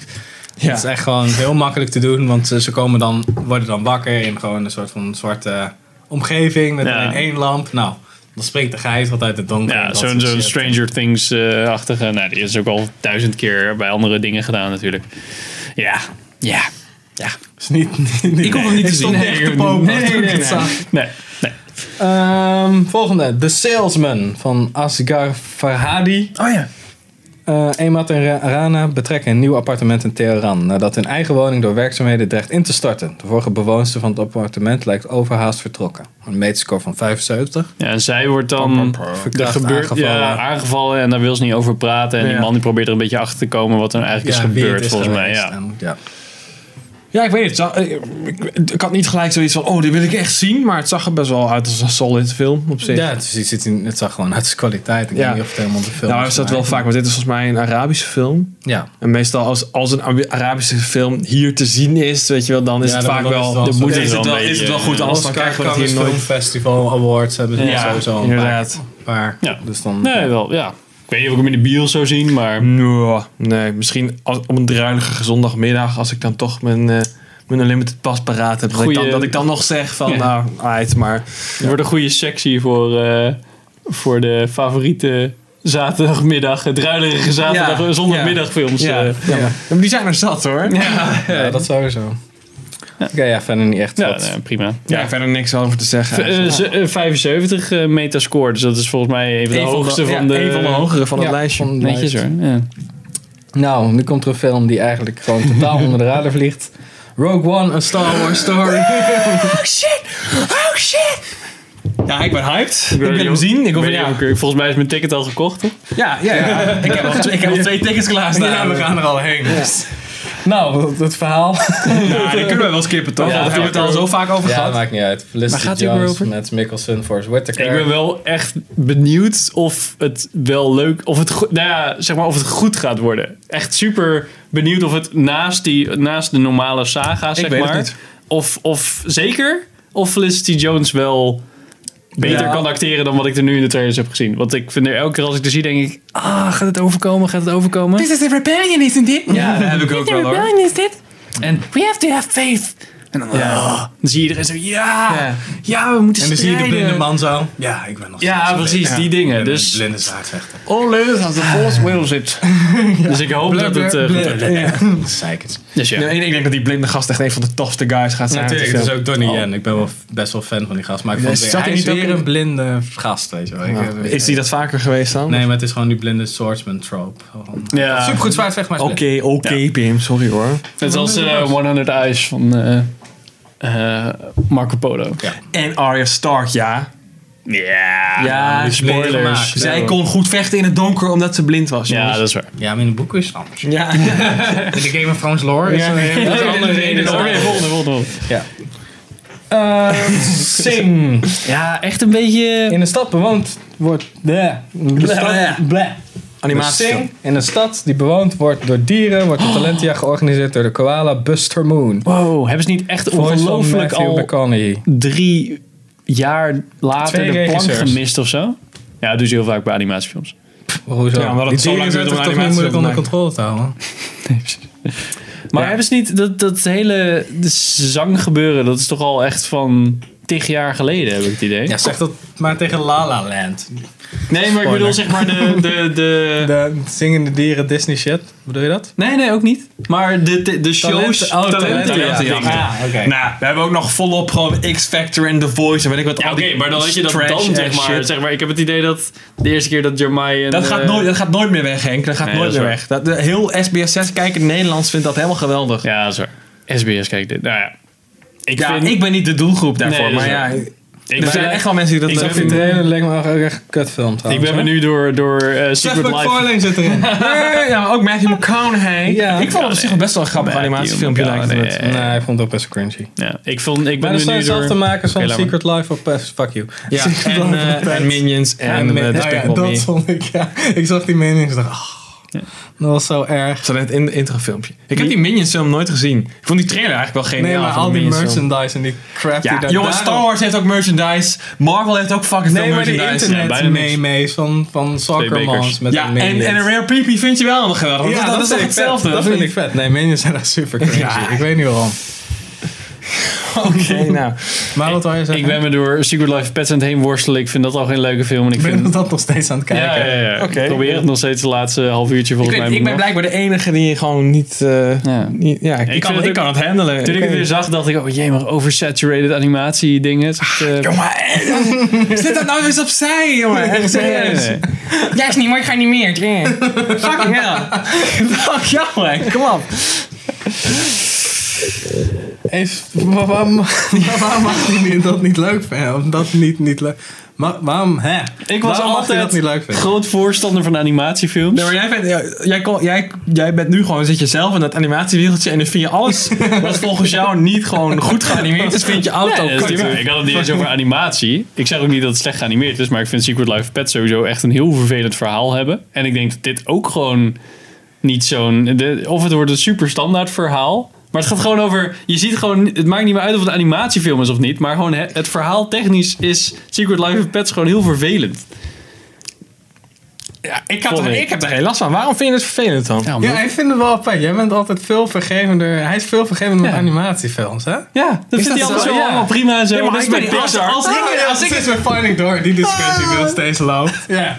S1: Het is echt gewoon heel makkelijk te doen, want eh, ze ze komen dan, worden dan wakker in gewoon een soort van zwarte omgeving met
S3: Ja.
S1: alleen één lamp. Nou,
S4: Dan springt de geit wat uit de donker.
S3: Ja,
S4: Dat
S3: zo'n
S4: soort
S3: zo'n
S4: shit.
S3: Stranger Things-achtige. nou, die is ook al duizend keer bij andere dingen gedaan natuurlijk. Ja, ja.
S1: Is niet, niet,
S2: Ik hoef hem niet te zien.
S4: stond
S2: Nee,
S4: echt
S2: ik
S4: te
S2: hoef
S4: popen
S2: hem niet-
S4: toen ik
S2: nee,
S4: het
S2: nee,
S4: zag.
S2: nee.
S3: Nee, nee.
S1: Ehm, volgende. The Salesman van Asghar Farhadi.
S2: Oh ja.
S1: Eh Emat en Ra- Rana betrekken een nieuw appartement in Teheran... nadat hun eigen woning door werkzaamheden dreigt in te storten. De vorige bewoonster van het appartement lijkt overhaast vertrokken. Een meetscore van 75.
S3: Ja, en zij wordt dan er
S1: Verkracht
S3: gebeurt, aangevallen. Ja,
S1: aangevallen.
S3: aangevallen en daar wil ze niet over praten. En
S1: Ja.
S3: die man die probeert er een beetje achter te komen wat er eigenlijk is
S1: Ja, wie het
S3: gebeurd, volgens mij.
S1: geweest.
S3: Ja.
S1: En, ja.
S2: Ja, ik weet het. Het zag- Ik, ik- ik had niet gelijk zoiets van, oh, dit wil ik echt zien. Maar het zag er best wel uit als een solid film op zich.
S1: Ja, het, is- het, zit in- het zag gewoon uit zijn kwaliteit. Ik
S2: Ja.
S1: weet niet of het helemaal de film
S2: nou, is
S1: is,
S2: dat
S1: maar-
S2: wel vaak, want dit is volgens mij een Arabische film.
S1: Ja.
S2: En meestal als, als een Abi- Arabische film hier te zien is, weet je wel, dan is
S4: Ja,
S2: het
S4: dan-
S2: vaak
S4: dan is
S2: wel,
S4: het wel
S2: dan
S4: zo.
S2: moet
S4: Ja,
S2: het
S3: wel
S2: wel,
S3: een
S2: is het wel
S3: beetje,
S2: goed,
S3: eh,
S2: anders dan krijgen we het hier nooit.
S4: Festival Awards hebben ze
S2: Ja,
S4: sowieso al een paar.
S2: inderdaad.
S4: Maar
S3: Ja.
S1: Dus dan...
S3: Nee, wel, ja. Ik weet niet of ik hem in de bios zou zien, maar...
S2: Nou, nee, misschien als, op een druilige zondagmiddag, als ik dan toch mijn, eh, mijn Unlimited pas paraat heb. Dat ik,
S3: Goeie-
S2: dan, dat ik dan nog zeg van,
S3: Ja.
S2: nou, uit, maar
S3: Het wordt een goede sectie voor, eh, voor de favoriete zaterdagmiddag, het druilerige zaterdag,
S2: Ja,
S3: zondagmiddagfilms.
S2: ja,
S3: eh.
S2: ja. maar die zijn er zat hoor. Ja,
S1: Ja, dat sowieso. Oké, ja, verder niet echt
S3: Ja,
S1: wat.
S3: nee, prima.
S2: verder niks over te zeggen.
S3: V- eh,
S2: eigenlijk.
S3: ze- eh, 75 eh, metascore, dus dat is volgens mij even de
S2: Eén
S3: hoogste
S2: ja,
S3: van de...
S2: één van de hogere van het
S1: Ja,
S2: lijstje.
S1: van het
S3: Netjes
S1: lijstje.
S3: hoor, ja.
S1: Nou, nu komt er een film die eigenlijk gewoon totaal onder de radar vliegt. Rogue One, een Star Wars story.
S4: Nou,
S2: Oh shit! Oh shit! Ja, ik ben hyped. Ik wil
S3: niet
S2: hem
S3: of-
S2: zien. Ik hoop
S3: weet niet
S2: ja.
S3: of ik- Volgens mij is mijn ticket al gekocht, toch?
S2: Ja, ja, ja. ik, heb al, ik heb al twee tickets klaarstaan.
S4: Ja, we gaan er al heen. dus.
S1: nou, dat- dat verhaal.
S2: Ja, die Ah, kunnen we wel skippen toch?
S3: Ja,
S2: Want we hebben we het al zo vaak over
S1: Ja,
S2: gehad.
S1: maakt niet uit. Felicity
S2: Waar gaat die
S1: Jones
S2: weer over?
S1: met Mickelson, Forrest Whitaker.
S3: Ik ben wel echt benieuwd of het wel leuk, of het, goed- nou ja, zeg maar of het goed gaat worden. Echt super benieuwd of het naast, die, naast de normale saga, zeg
S2: weet het
S3: maar.
S2: niet.
S3: Of, of zeker, of Felicity Jones wel beter
S1: Ja.
S3: kan acteren dan wat ik er nu in de trailers heb gezien. Want ik vind er elke keer als ik er zie, denk ik, ah, gaat het overkomen, gaat het overkomen?
S2: is de rebellion, isn't it? Ja, dat heb ik ook wel hoor.
S3: is dit. En we have to have faith. En dan, ah, dan zie je iedereen zo, ja, ja,
S2: Ja.
S3: we moeten
S4: En dan zie je de
S3: strijden.
S4: blinde man zo. Ja, ik ben nog
S3: Ja,
S4: steeds
S3: precies,
S4: blind.
S3: die dingen.
S4: Ik ben een
S3: Dus
S4: blinde zwaardvechter.
S2: Onleus als de force wills it.
S3: Dus ik hoop dat het eh, goed wordt.
S4: Zeikers.
S3: Dus ja.
S2: Nee, ik denk dat die blinde gast echt een van de tofste guys gaat zijn.
S4: Natuurlijk,
S2: Dus
S4: het
S2: ja.
S4: is ook
S1: Oh.
S4: Donnie Yen. Ik ben wel f- best wel fan van die gast. Maar ik
S2: Ja,
S4: vond het
S2: zat
S4: weer,
S2: hij
S4: hij is
S2: niet ook
S4: weer
S2: in-
S4: een blinde gast, weet je wel. Ik, eh, weet-
S2: Is die dat vaker geweest dan?
S4: Nee, maar het is gewoon die blinde swordsman trope. Gewoon-
S3: Ja.
S4: Supergoed zwaardvecht, maar
S2: Oké,
S4: is blind.
S2: oké Pim, sorry hoor.
S3: Net als eh, 100 Eyes van eh, eh, Marco Polo.
S2: En Arya Stark, ja.
S3: Ja.
S4: Ah,
S2: Ja,
S3: die spoilers.
S4: gemaakt.
S2: Zij kon goed vechten in het donker omdat ze blind was.
S3: Ja,
S2: jongens.
S3: dat is waar.
S4: Ja, maar in de boeken is het anders.
S2: Ja,
S4: In de Game of Thrones lore is
S2: Ja.
S4: er een hele
S3: Nee,
S4: andere
S3: nee, nee,
S4: reden.
S3: nee, nee, volgende, volgende.
S1: Ehm, Sing.
S3: Ja, echt een beetje...
S1: In een stad bewoond wordt... Bleh. De stad- bleh.
S2: animatie.
S1: Sing. In een stad die bewoond wordt door dieren... wordt de
S2: Oh.
S1: Talentia georganiseerd door de koala Buster Moon.
S3: Wow, hebben ze niet echt
S1: Voice van
S3: ongelooflijk
S1: Matthew
S3: al
S1: McConaughey.
S3: drie jaar later
S1: Twee
S3: de plank
S1: regisseurs.
S3: gemist of zo? Ja, dat doen ze heel vaak bij animatiefilms.
S1: Hoezo?
S2: Ja, omdat
S4: Die
S2: het zo
S4: dieren
S2: lang
S4: zijn
S2: duurt om
S4: toch
S2: een
S4: toch niet
S2: animatie
S4: moeilijk
S2: te
S4: onder controle
S2: maken.
S4: te houden?
S3: Maar
S1: Ja.
S3: hebben ze niet dat, dat hele de zang gebeuren, dat is toch al echt van tig jaar geleden, heb ik het idee.
S4: Ja, zeg dat maar tegen La La Land.
S3: Nee, maar ik bedoel zeg maar de... de, de
S1: De zingende dieren Disney shit. Bedoel je dat?
S3: Nee, nee, ook niet. Maar de, de, de shows...
S1: Talenten- oh, talentenjacht.
S3: ja.
S2: Ja.
S4: Ah, oké.
S2: Nou, we hebben ook nog volop gewoon X-Factor en The Voice en weet ik wat.
S3: Ja,
S2: al
S3: oké,
S2: die
S3: maar dan weet je dat
S2: trash
S3: dan,
S2: en
S3: zeg maar,
S2: shit.
S3: zeg maar. Ik heb het idee dat de eerste keer dat Jermai en...
S2: Dat,
S3: eh,
S2: gaat nooit, dat gaat nooit meer weg, Henk. Dat gaat
S3: Nee,
S2: nooit
S3: dat is
S2: meer
S3: waar.
S2: weg. Dat, de, heel SBS6 kijken Nederlands vindt dat helemaal geweldig. Ja,
S3: Ja, dat is waar. SBS kijkt dit. Nou ja. Ik
S2: ik,
S3: vind...
S2: ben niet de doelgroep daarvoor,
S3: Nee, dat
S2: maar
S3: is
S2: ja,
S3: waar.
S2: er
S3: ik ben,
S2: zijn echt wel mensen die dat
S3: Ik
S2: leuk
S1: Die
S2: vinden.
S1: trailer leek me ook echt een kutfilm
S3: ik
S1: trouwens.
S3: ben me nu door, door eh, Secret Life...
S4: zit erin.
S2: Nee, Ja, maar ook Matthew McConaughey.
S1: Ja.
S2: Ik vond het op zich wel best wel een grappig
S3: Matthew
S2: animatiefilmpje lijkt het.
S3: McConaughey.
S1: Nee, ik vond het ook best cringy.
S3: Ja, ik, vond, ik ben
S1: Maar dat
S3: er
S1: zijn
S3: nu door...
S1: hetzelfde makers van
S3: Oké, laat maar.
S1: Secret Life of Pets. Fuck you.
S2: Ja, en, eh, en Minions en
S1: En
S2: eh,
S1: Minions.
S3: oh
S2: Despicable
S4: nou dat
S2: Me.
S4: vond ik, ja. Ik zag die mening en ik dacht, ah, dat was zo erg.
S2: Zo net in het introfilmpje. Ik heb die Minions film nooit gezien. Ik vond die trailer eigenlijk wel geniaal.
S4: Nee, maar
S2: van de
S4: al die
S2: Minions film.
S4: merchandise en die crap die
S2: Ja,
S4: daar...
S2: jongens, Star Wars heeft ook merchandise. Marvel heeft ook fucking
S4: Nee,
S2: veel
S4: maar die
S2: merchandise.
S3: Ja,
S4: internet
S3: bijna niks.
S4: memes van, van soccer
S3: Twee bekers.
S4: moms met
S2: ja,
S4: een
S2: en, en een rare peepee vind je wel nog geweldig. want
S4: Ja,
S2: dat, dat is
S4: vind
S2: echt
S4: ik vet.
S2: hetzelfde.
S4: Dat vind ik vet. Nee, minions zijn echt super crazy.
S2: Ja.
S4: Ik weet niet waarom.
S2: Oké, nou.
S4: Maar wat wil je
S3: Ik
S4: zeggen?
S3: ben me door Secret Life Pets and heen worstelen. Ik vind dat al geen leuke film. En ik
S4: Ik ben
S3: vind...
S4: dat nog steeds aan het kijken.
S3: Ja, ja, ja. ja.
S2: Oké.
S3: Ik probeer het nog steeds de laatste half uurtje
S2: Ik,
S3: volgens
S2: weet-
S3: mij.
S2: ik ben
S3: nog.
S2: blijkbaar de enige die gewoon niet... eh,
S3: Ja.
S2: niet- ja, ik,
S3: vind
S2: kan,
S3: het
S2: ik
S3: ook-
S2: kan het handelen.
S3: Toen ik het
S2: weet-
S3: weer zag, dacht ik, oh jee, maar oversaturated animatie dingen. Het
S2: Ah,
S3: is, eh,
S2: Jongen, eh, zet dat nou eens opzij, jongen. Echt serieus.
S3: Nee,
S2: Jij is niet mooi, ga niet meer. Fucking hell. Fuck jou, man. Kom op.
S4: Even, wa- waarom, wa- waarom mag hij niet- dat niet leuk vinden? Omdat niet, niet leuk. Maar waarom, hè?
S3: Ik was
S4: waarom mag hij
S3: altijd
S4: dat niet leuk vinden?
S3: groot voorstander van animatiefilms.
S2: Nee, maar jij, vindt- jij, jij, kon- jij, jij bent nu gewoon, zit je zelf in dat animatiewieltje en dan vind je alles wat volgens jou niet gewoon goed geanimeerd is, vind Oh, je auto.
S3: Nee, dat is niet waar. Ik had het niet eens over animatie. Ik zeg ook niet dat het slecht geanimeerd is, maar ik vind Secret Life of Pets sowieso echt een heel vervelend verhaal hebben. En ik denk dat dit ook gewoon niet zo'n. de- Of het wordt een super standaard verhaal. Maar het gaat gewoon over. Je ziet gewoon. Het maakt niet meer uit of het een animatiefilm is of niet. Maar gewoon het, het verhaal technisch is Secret Life of Pets gewoon heel vervelend.
S2: Ja, ik, had
S3: Volgende
S2: er,
S3: week.
S2: ik heb er geen last van. Waarom vind je het vervelend dan? Ja.
S4: Ja, ik vind het wel apart. Jij bent altijd veel vergevender. Hij is veel vergevender met animatiefilms, hè?
S3: dat
S2: is
S3: vindt hij
S2: dat
S3: allemaal
S2: zo?
S3: zo
S2: Ja.
S3: allemaal prima en zo.
S2: Nee, maar
S3: Dit is
S2: ik ben
S3: bij
S2: niet- als-
S3: Pixar.
S2: als-
S4: Oh, ja, als ik eens met Finding Door die discussie die nog steeds loopt. Ja.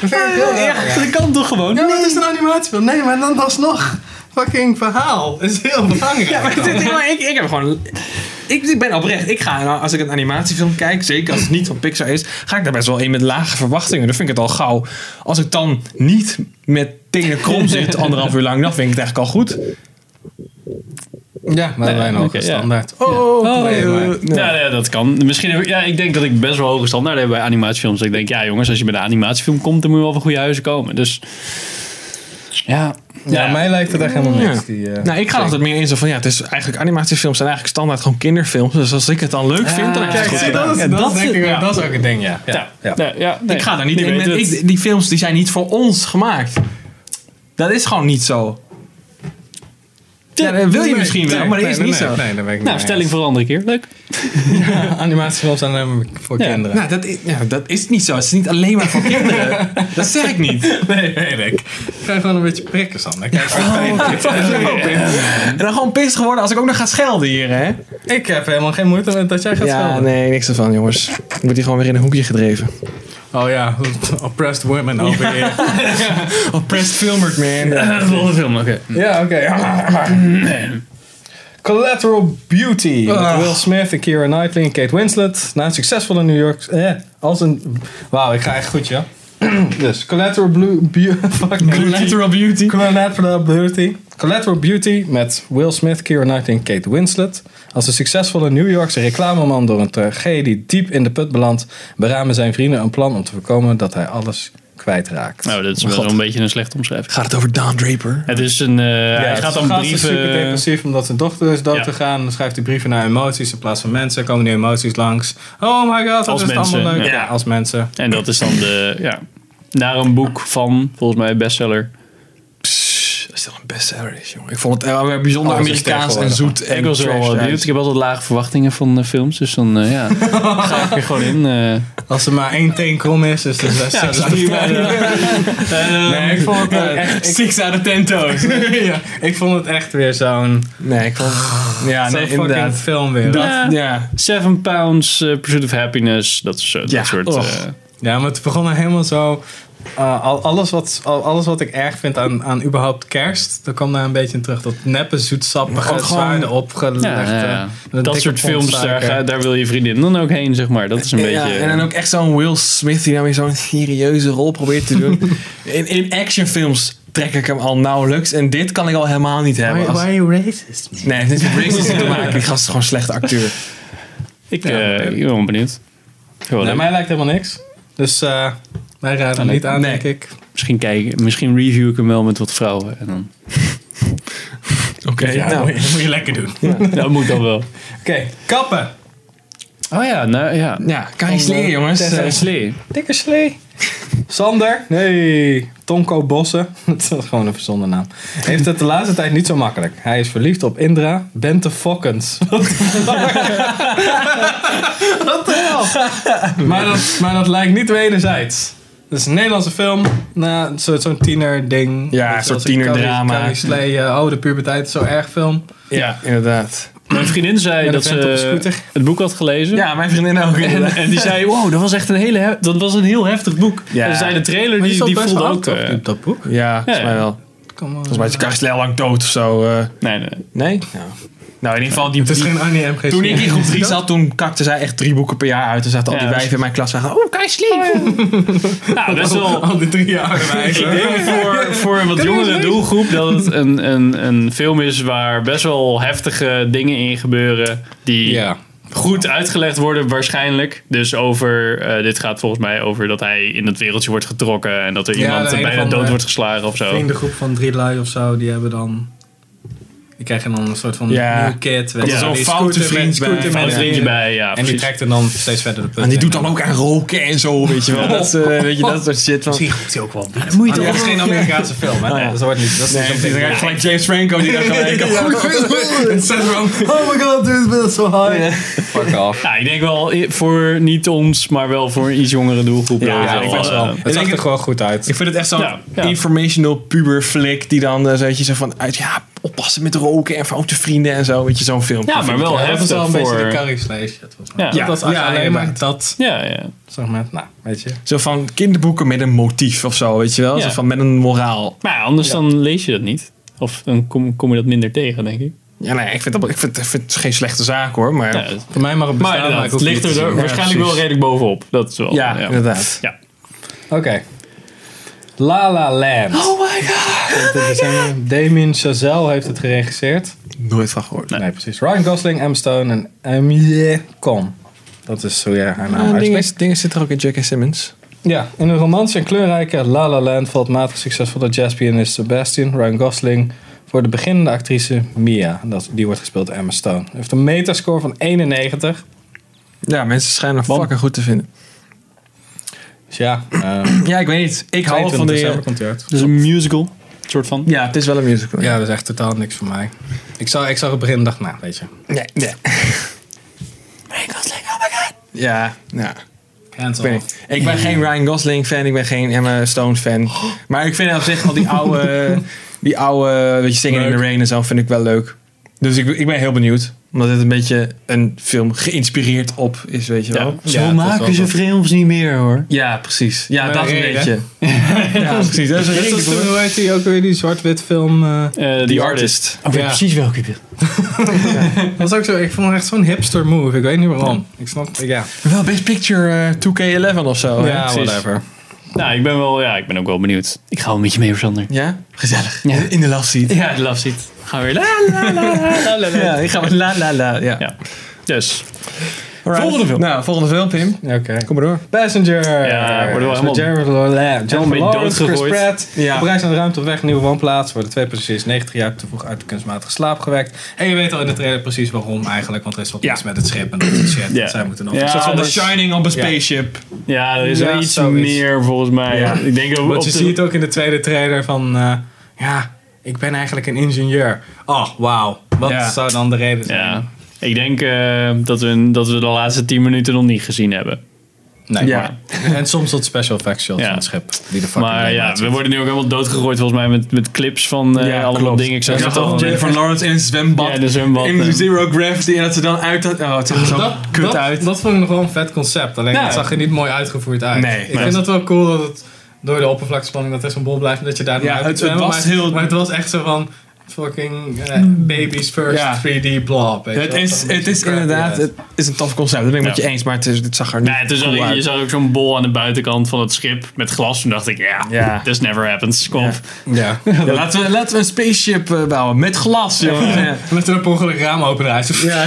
S4: Dat vind ik heel erg.
S3: Dat kan toch gewoon?
S4: Ja, maar het is een animatiefilm. Nee, maar dan alsnog. Fucking verhaal is heel belangrijk.
S2: Ja, maar het is- maar ik, ik heb gewoon. Ik, ik ben oprecht. Ik ga, nou, als ik een animatiefilm kijk, zeker als het niet van Pixar is, ga ik daar best wel in met lage verwachtingen. Dan vind ik het al gauw. Als ik dan niet met tenen krom zit anderhalf uur lang, dan vind ik het eigenlijk al goed.
S4: Ja, maar wij nog
S3: oké, ja.
S4: standaard. Oh, nee, maar-
S3: Ja, ja, dat kan. Misschien heb ik, ja, ik denk dat ik best wel hoge standaarden heb bij animatiefilms. Ik denk, ja jongens, als je met een animatiefilm komt, dan moet je wel van goede huizen komen. Dus ja.
S4: Ja,
S3: Ja.
S4: mij lijkt het echt helemaal
S2: Ja.
S4: niks. Die, eh,
S2: nou, ik ga altijd meer in zo van ja, het is eigenlijk animatiefilms zijn eigenlijk standaard gewoon kinderfilms. Dus als ik het dan leuk vind, dan heb ik het
S4: Kijk,
S2: Ah, goed
S4: zie,
S2: gedaan.
S4: dat is,
S2: Ja,
S4: dat,
S2: dat
S4: is
S2: is-
S4: denk ik,
S2: ja.
S4: dat is ook een ding, ja.
S3: Ja, ja. nee,
S2: Ik ga daar niet
S3: die
S2: in.
S3: weet
S2: met-
S3: het.
S2: ik- die films die zijn niet voor ons gemaakt. Dat is gewoon niet zo. Ja, dat wil je
S4: Nee,
S2: misschien wel,
S4: nee,
S2: maar dat
S4: nee,
S2: is
S4: nee,
S2: niet
S4: nee,
S2: zo.
S4: Nee, daar ben ik
S3: nou,
S4: mee
S3: stelling voor een andere keer. Leuk.
S4: eens. Animatiefilms zijn
S1: ehm,
S4: alleen maar voor
S3: Ja.
S4: kinderen.
S2: Nou, dat is, ja, dat is niet zo. Het is niet alleen maar voor kinderen. Dat zeg ik niet.
S4: Nee, weet ik. Ik ga gewoon een beetje prikken, Sander. Kijk,
S1: Oh.
S2: En dan gewoon pissig geworden als ik ook nog ga schelden hier, hè?
S4: Ik heb helemaal geen moeite met dat jij gaat schelden.
S2: nee, niks ervan, jongens. Dan wordt hij gewoon weer in een hoekje gedreven.
S4: Oh ja, oppressed women over here.
S2: Oppressed filmert, man.
S3: Volgende film, oké.
S4: Ja, oké.
S1: Collateral Beauty.
S4: Ah.
S1: Met Will Smith en Keira Knightley en Kate Winslet. Na een succesvolle New York... Eh, als een... Wauw, ik ga echt goed, ja. dus, Collateral Blue... Beau- fuck.
S2: Collateral beauty.
S1: Collateral Beauty. Collateral Beauty met Will Smith, Keira Knightley en Kate Winslet. Als een succesvolle New Yorkse reclameman door een tragedie diep in de put belandt, beramen zijn vrienden een plan om te voorkomen dat hij alles kwijtraakt.
S3: Nou, dat is wel
S2: Oh, God.
S3: een beetje een slechte omschrijving.
S2: Gaat het over Don Draper?
S3: Het is een. eh, hij gaat om
S1: gast is super
S3: brieven.
S1: depressief omdat zijn dochter is dood
S3: Ja.
S1: te gaan. Dan schrijft hij brieven naar emoties in plaats van mensen. Komen die emoties langs. Oh my god, dat
S3: Als
S1: is het
S3: mensen,
S1: allemaal leuk.
S3: ja.
S1: Ja, als mensen.
S3: En dat is dan de. Ja, naar een boek van, volgens mij, bestseller.
S2: Psst, dat is toch een bestseller, is, jongen. Ik vond het eh, bijzonder
S1: Oh, dat is
S2: Amerikaans en
S1: tegenwoordig.
S2: zoet. En
S3: ik was wel
S2: trash
S3: eh, benieuwd.
S2: uit.
S3: Ik heb altijd lage verwachtingen van eh, films. Dus dan eh, ja, ga ik er gewoon in. eh.
S4: Als er maar één teen krom is, dus dat is best
S3: Ja, dat
S4: zes
S3: is
S4: aan de
S3: prima.
S4: teen. Nee, eh, ik vond het
S2: eh,
S4: ook echt...
S2: Six out of ten toes.
S4: ja, ik vond het echt weer zo'n...
S2: Nee, ik vond Ja,
S4: zo'n
S2: nee,
S4: fucking
S2: inderdaad.
S4: film weer.
S2: Dat,
S3: Ja.
S2: ja.
S3: Seven Pounds, eh, Pursuit of Happiness, dat, is, eh,
S2: Ja,
S3: dat soort...
S2: och.
S3: eh,
S4: Ja, maar het begon er helemaal zo... eh, al, alles, wat, al- alles wat ik erg vind aan, aan überhaupt kerst, daar kwam daar een beetje in terug. Dat neppe, zoetsappige,
S2: Gewoon-
S4: zwaarden opgelegd.
S3: ja, ja, ja.
S4: eh,
S3: Dat
S4: dikke
S3: soort films, daar,
S4: pontsuiker.
S3: ga- daar wil je vriendin dan ook heen, zeg maar. Dat is een
S2: Ja,
S3: beetje... eh,
S2: en dan ook echt zo'n Will Smith die dan weer zo'n serieuze rol probeert te doen. in, in actionfilms trek ik hem al nauwelijks. En dit kan ik al helemaal niet hebben.
S4: Why, why
S2: Als-
S4: are you racist? man?
S2: nee, het heeft niks met racisme te maken. Die gast is gewoon een slechte acteur.
S3: ik, eh, ik ben wel benieuwd. Heel
S4: Nee,
S3: leuk.
S4: mij lijkt helemaal niks. Dus eh, wij raden hem
S3: Nee.
S4: niet aan,
S2: Nee.
S4: denk ik.
S3: Misschien, kijken, misschien review ik hem wel met wat vrouwen. En dan,
S2: Oké, nou.
S4: moet, je, moet je lekker doen. Oké,
S3: dat moet dan wel.
S4: kappen.
S3: Oh ja, nou ja.
S2: Ja, kan je leren, jongens.
S3: Tessa
S2: Eh,
S3: Slee.
S1: Dikke slee. Sander. Nee, Tonko Bossen. Dat is gewoon een verzonnen naam. Heeft het de laatste tijd niet zo makkelijk. Hij is verliefd op Indra Bente Fokkens. Wat de hel? Maar dat, maar dat lijkt niet wederzijds. Dat is een Nederlandse film. Nou, zo- zo'n tiener ding.
S2: Ja, een soort tienerdrama.
S1: Carrie Slee, eh, oh de puberteit is zo erg film.
S2: ja, inderdaad.
S3: Mijn vriendin zei
S4: Met
S3: dat
S4: een vent op een
S3: ze
S4: scooter.
S3: het boek had gelezen.
S2: Ja, mijn vriendin ook.
S3: En,
S2: inderdaad.
S3: en die zei, wow, dat was echt een, hele hef- dat was een heel heftig boek.
S2: Ja.
S3: En zei de trailer,
S4: Maar
S3: die,
S4: zat
S3: die
S4: best
S3: voelde
S4: wel
S3: ook...
S4: oud, toch,
S3: eh,
S4: die- dat boek.
S2: Ja, volgens mij wel.
S4: Kom
S2: Volgens mij is de kast heel lang dood of zo. eh.
S3: nee, nee.
S2: nee? Nou, in ieder geval, die,
S4: Het is
S2: die-
S4: geen Annie MG.
S2: toen ik in groep 3 zat, toen kakte zij echt drie boeken per jaar uit. En zaten al die
S3: Ja.
S2: wijven in mijn klas en zagen, oh, kijk, slim.
S3: Nou, best wel...
S4: Al die drie jaar
S3: Ik
S4: eigenlijk.
S3: denk voor, voor een wat
S4: Kan je
S3: jongere
S4: eens
S3: doelgroep dat het een, een, een film is waar best wel heftige dingen in gebeuren. Die
S1: Ja.
S3: goed uitgelegd worden waarschijnlijk. Dus over, eh, dit gaat volgens mij over dat hij in dat wereldje wordt getrokken. En dat er
S4: Ja,
S3: iemand
S4: de een
S3: bijna
S4: van
S3: dood
S4: de
S3: wordt geslagen of zo.
S4: Vriendengroep van drie lui of zo, die hebben dan... Die krijgen dan een soort van
S2: Ja.
S4: nieuw kid. weet
S2: Komt
S4: je,
S2: er zo'n
S4: die
S2: foute
S4: scooter met-
S2: vriend bij.
S4: scooter met
S2: Foute
S3: Een vriendje
S4: vrienden.
S3: bij, ja.
S4: En die
S3: precies.
S4: trekt hem dan steeds verder de put
S2: En die
S4: in.
S2: doet dan ook aan roken en zo, weet je wel. Dat, is, eh, weet je, dat soort shit. Van,
S4: Misschien roept hij ook wel.
S3: Dat moet je
S4: Dat
S3: toch
S4: Ah, is geen Amerikaanse film, hè?
S2: Oh, ja.
S4: Dat wordt niet. Dat is
S2: Nee,
S4: niet
S2: precies,
S4: zo'n
S2: dan ga ik gelijk James Franco die dan gelijk...
S4: Oh my god, dude, dat is zo high.
S1: Fuck off.
S3: Nou, ik denk wel i- voor niet ons, maar wel voor een iets jongere doelgroep.
S2: Ja,
S3: Dat is
S2: ik
S3: wel,
S2: best
S3: eh,
S2: wel.
S4: Het zag er gewoon goed uit.
S2: Ik vind het echt zo'n
S3: Ja, ja.
S2: informational puber flik die dan eh, zoiets zegt van uit ja, oppassen met roken en foute vrienden en zo. Weet je, zo'n film.
S3: Ja, maar wel
S4: Dat was wel
S3: heftig
S4: een beetje de
S3: voor...
S4: curry slash. shit, volgens mij.
S3: Ja,
S4: Dat was eigenlijk
S2: ja,
S4: alleen maar
S2: inderdaad.
S4: dat.
S3: ja, ja.
S4: Zeg maar, nou, weet je.
S2: Zo van kinderboeken met een motief of zo, weet je wel?
S3: Ja.
S2: Zo van met een moraal.
S3: Maar ja, anders dan lees je dat niet. Of dan kom, kom je dat minder tegen, denk ik.
S2: Ja, nee, ik vind, dat, ik vind, ik vind het geen slechte zaak hoor, maar...
S3: Ja,
S2: Ja,
S3: dat-
S4: Voor mij mag het
S3: maar
S4: bestaan,
S3: inderdaad,
S4: maar ik
S3: het
S4: hoef
S3: ligt
S4: niet
S3: er
S4: te
S3: wel-
S4: zien.
S3: waarschijnlijk
S2: precies.
S3: wel redelijk bovenop. Dat is wel...
S2: inderdaad.
S3: Ja.
S1: Oké. La La Land.
S2: Oh my god!
S1: Damien Chazelle heeft het geregisseerd.
S2: Nooit van gehoord.
S1: Nee, precies. Ryan Gosling, Emma Stone en Amy Con. Dat is zo ja,
S2: Ah,
S1: haar naam uitspreekt.
S2: dingen, dingen zitten er ook in J.K. Simmons.
S1: Ja, in een romance en kleurrijke La La Land valt matig succesvol de jazzpianist Sebastian Ryan Gosling voor de beginnende actrice Mia. Dat, die wordt gespeeld door Emma Stone. Hij heeft een metascore van 91.
S2: Ja, mensen schijnen hem fucking goed te vinden.
S1: Dus ja, eh
S2: Ja, ik weet niet. Ik hou
S1: 22
S2: van eh, de...
S1: december komt hij uit.
S3: Dus een musical, soort van.
S2: Ja, het is wel een musical.
S4: Ja, dat is echt totaal niks voor mij. Ik zag, ik zag het begin en dacht, nou, weet je.
S2: Nee, nee. Ryan Gosling, oh my god! Ja, ja.
S4: Hands
S2: Ik, weet
S4: off.
S2: niet. ik ben geen Ryan Gosling fan, ik ben geen Emma Stone fan. Maar ik vind op zich al die oude, die oude, weet je, Singing in
S4: Leuk.
S2: the Rain en zo, vind ik wel leuk. Dus ik, ik ben heel benieuwd. Omdat het een beetje een film geïnspireerd op is, weet je wel. Ja,
S4: Zo maken ze
S3: films niet meer, hoor.
S2: precies. Ja,
S4: Maar
S2: dat een
S4: reden.
S2: beetje. ja, precies. Dat is een
S4: Net
S2: reden
S4: zoals
S2: voor.
S4: toen, hoe heet die ook weer, die zwart-wit film. eh,
S2: The Artist.
S3: Oh,
S4: Ja.
S3: precies welke je
S4: Dat was ook zo, ik vond het echt zo'n hipster move. Ik weet niet waarom. Ik snap, ja.
S2: Wel Best Picture eh, 2K11 of zo. hè?
S4: ja,
S3: precies.
S4: whatever.
S3: Nou, ik ben wel... Ja, ik ben ook wel benieuwd. Ik ga wel met je mee, Sander.
S2: Ja? Gezellig.
S3: Ja.
S2: In de love seat.
S3: Ja, de love seat. Gaan we weer... La, la, la, la, la.
S2: Ja, ik ga met la la la. Ja.
S3: Ja. Dus,
S2: Alright.
S3: Volgende film.
S2: Nou, volgende film, Pim.
S1: Oké.
S2: Kom maar door.
S1: Passenger.
S3: Ja, worden we
S1: Met
S3: helemaal-
S1: Jared Leto, Jennifer
S3: beetje
S1: Lawrence, Chris
S3: doodgegooid.
S1: Pratt.
S2: Ja.
S1: Op reis naar de ruimte op weg, nieuwe woonplaats. Worden twee passagiers 90 jaar te vroeg uit de kunstmatige slaap gewekt.
S4: En je weet al in de trailer precies waarom eigenlijk, want er is wat
S2: Ja.
S4: mis met het schip en dat soort shit.
S3: Ja.
S4: Zij moeten nog.
S3: Ja,
S4: Een soort van
S1: Ah,
S2: Van The
S3: dat is-
S2: Shining op een
S4: Ja.
S2: spaceship.
S3: ja, er is
S4: Ja,
S3: wel iets
S4: zoiets.
S3: meer, volgens mij.
S2: Ja.
S3: Ik denk ook...
S4: Want
S3: op
S4: je
S3: de-
S4: ziet ook in de tweede trailer van, eh, ja, ik ben eigenlijk een ingenieur. Oh, wauw. Wat
S2: Ja.
S4: zou dan de reden zijn?
S3: Ja. Ik denk eh, dat, we, dat we de laatste 10 minuten nog niet gezien hebben.
S4: Nee,
S2: Ja.
S4: maar- En soms tot special effects shots
S3: Ja.
S4: van het schip. Die de fucking
S3: Maar
S4: ding
S3: ja,
S4: uitziet.
S3: we worden nu ook helemaal doodgegooid volgens mij met, met clips van eh
S2: Ja,
S3: allemaal
S2: klopt.
S3: dingen. Ik zag
S2: Ja,
S3: het al.
S2: van Jennifer Lawrence in een zwembad.
S3: Ja, in een zwembad,
S2: In
S3: ja.
S2: Zero Gravity. En dat ze dan uit... dat- Oh, het zag er zo
S4: dat,
S2: kut
S4: dat,
S2: uit.
S4: Dat vond ik nog wel een vet concept. Alleen
S3: Ja.
S4: het zag er niet mooi uitgevoerd uit.
S2: Nee,
S4: ik
S2: nee.
S4: vind dat wel cool dat het door de oppervlaktespanning dat er zo'n bol blijft en dat je daar dan
S2: Ja,
S4: uit
S2: het-
S4: kunt zwemmen.
S2: het was
S4: maar,
S2: heel-
S4: maar het was echt zo van fucking eh, baby's first
S2: Ja.
S4: 3D blob. weet je
S2: Het
S4: wel.
S2: is,
S4: Dat een
S2: het
S4: beetje
S2: is
S4: crappy
S2: inderdaad...
S4: uit.
S2: Het is een tof concept. Dat ben ik met
S3: Ja.
S2: je eens. Maar het, is, het zag er niet
S3: Nee, het is al-
S2: cool
S3: je
S2: uit.
S3: zag ook zo'n bol aan de buitenkant van het schip met glas. Toen dacht ik, ja,
S2: Ja.
S3: this never happens. Kom.
S2: Ja.
S3: op.
S4: Ja.
S2: Ja, laten, we, laten we een spaceship eh, bouwen. Met glas, jongen. Ja.
S4: Met een per ongeluk raam opendraait. Ja,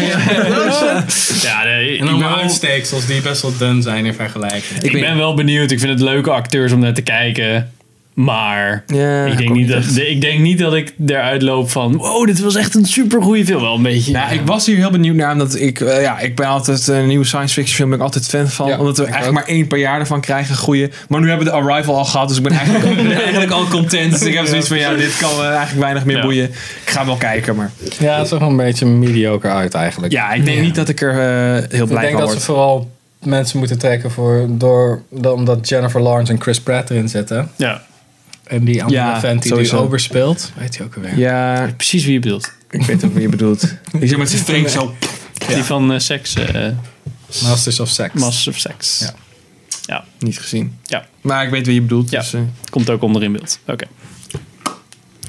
S3: Ja, nee, ik,
S4: En
S3: ben
S4: dan maar
S3: wel,
S4: uitsteeksels die best wel dun zijn in vergelijking.
S3: ik ben wel benieuwd. Ik vind het leuke acteurs om naar te kijken. Maar
S2: Ja,
S3: ik,
S2: ik
S3: denk
S2: ook
S3: niet
S2: niet
S3: dat, ik denk niet dat ik eruit loop van... Wow, dit was echt een supergoeie film. Wel een beetje.
S2: Ja, ik was hier heel benieuwd naar, omdat ik, eh, ja, ik ben altijd een nieuwe science fiction film, ben ik altijd fan van.
S1: Ja,
S2: omdat we
S1: ik
S2: eigenlijk maar één per jaar ervan krijgen, goeie. Maar nu hebben we de Arrival al gehad, dus ik ben eigenlijk, ik ben eigenlijk al content. Dus ik heb zoiets van, ja, dit kan me eigenlijk weinig meer
S3: Ja.
S2: boeien. Ik ga wel kijken, maar
S1: Ja, het zag er een beetje mediocre uit eigenlijk.
S2: ja, ik denk niet dat ik er eh, heel
S1: Ik
S2: blij
S1: denk
S2: van
S1: dat ze
S2: word.
S1: vooral mensen moeten trekken voor, door, door- omdat Jennifer Lawrence en Chris Pratt erin zitten.
S3: ja,
S1: En die andere
S2: Ja,
S1: vent die
S2: sowieso.
S1: die Ober speelt. Weet je ook alweer.
S2: Ja,
S3: precies wie je bedoelt.
S2: Ik weet ook wie je bedoelt. Die zit met zijn string zo.
S3: Die van eh, seks. eh,
S1: Masters of Sex.
S3: Masters of Sex.
S1: Ja.
S3: Ja,
S2: Niet gezien.
S3: Ja.
S2: Maar ik weet wie je bedoelt.
S3: Ja.
S2: Dus, eh,
S3: komt ook onder in beeld. Oké.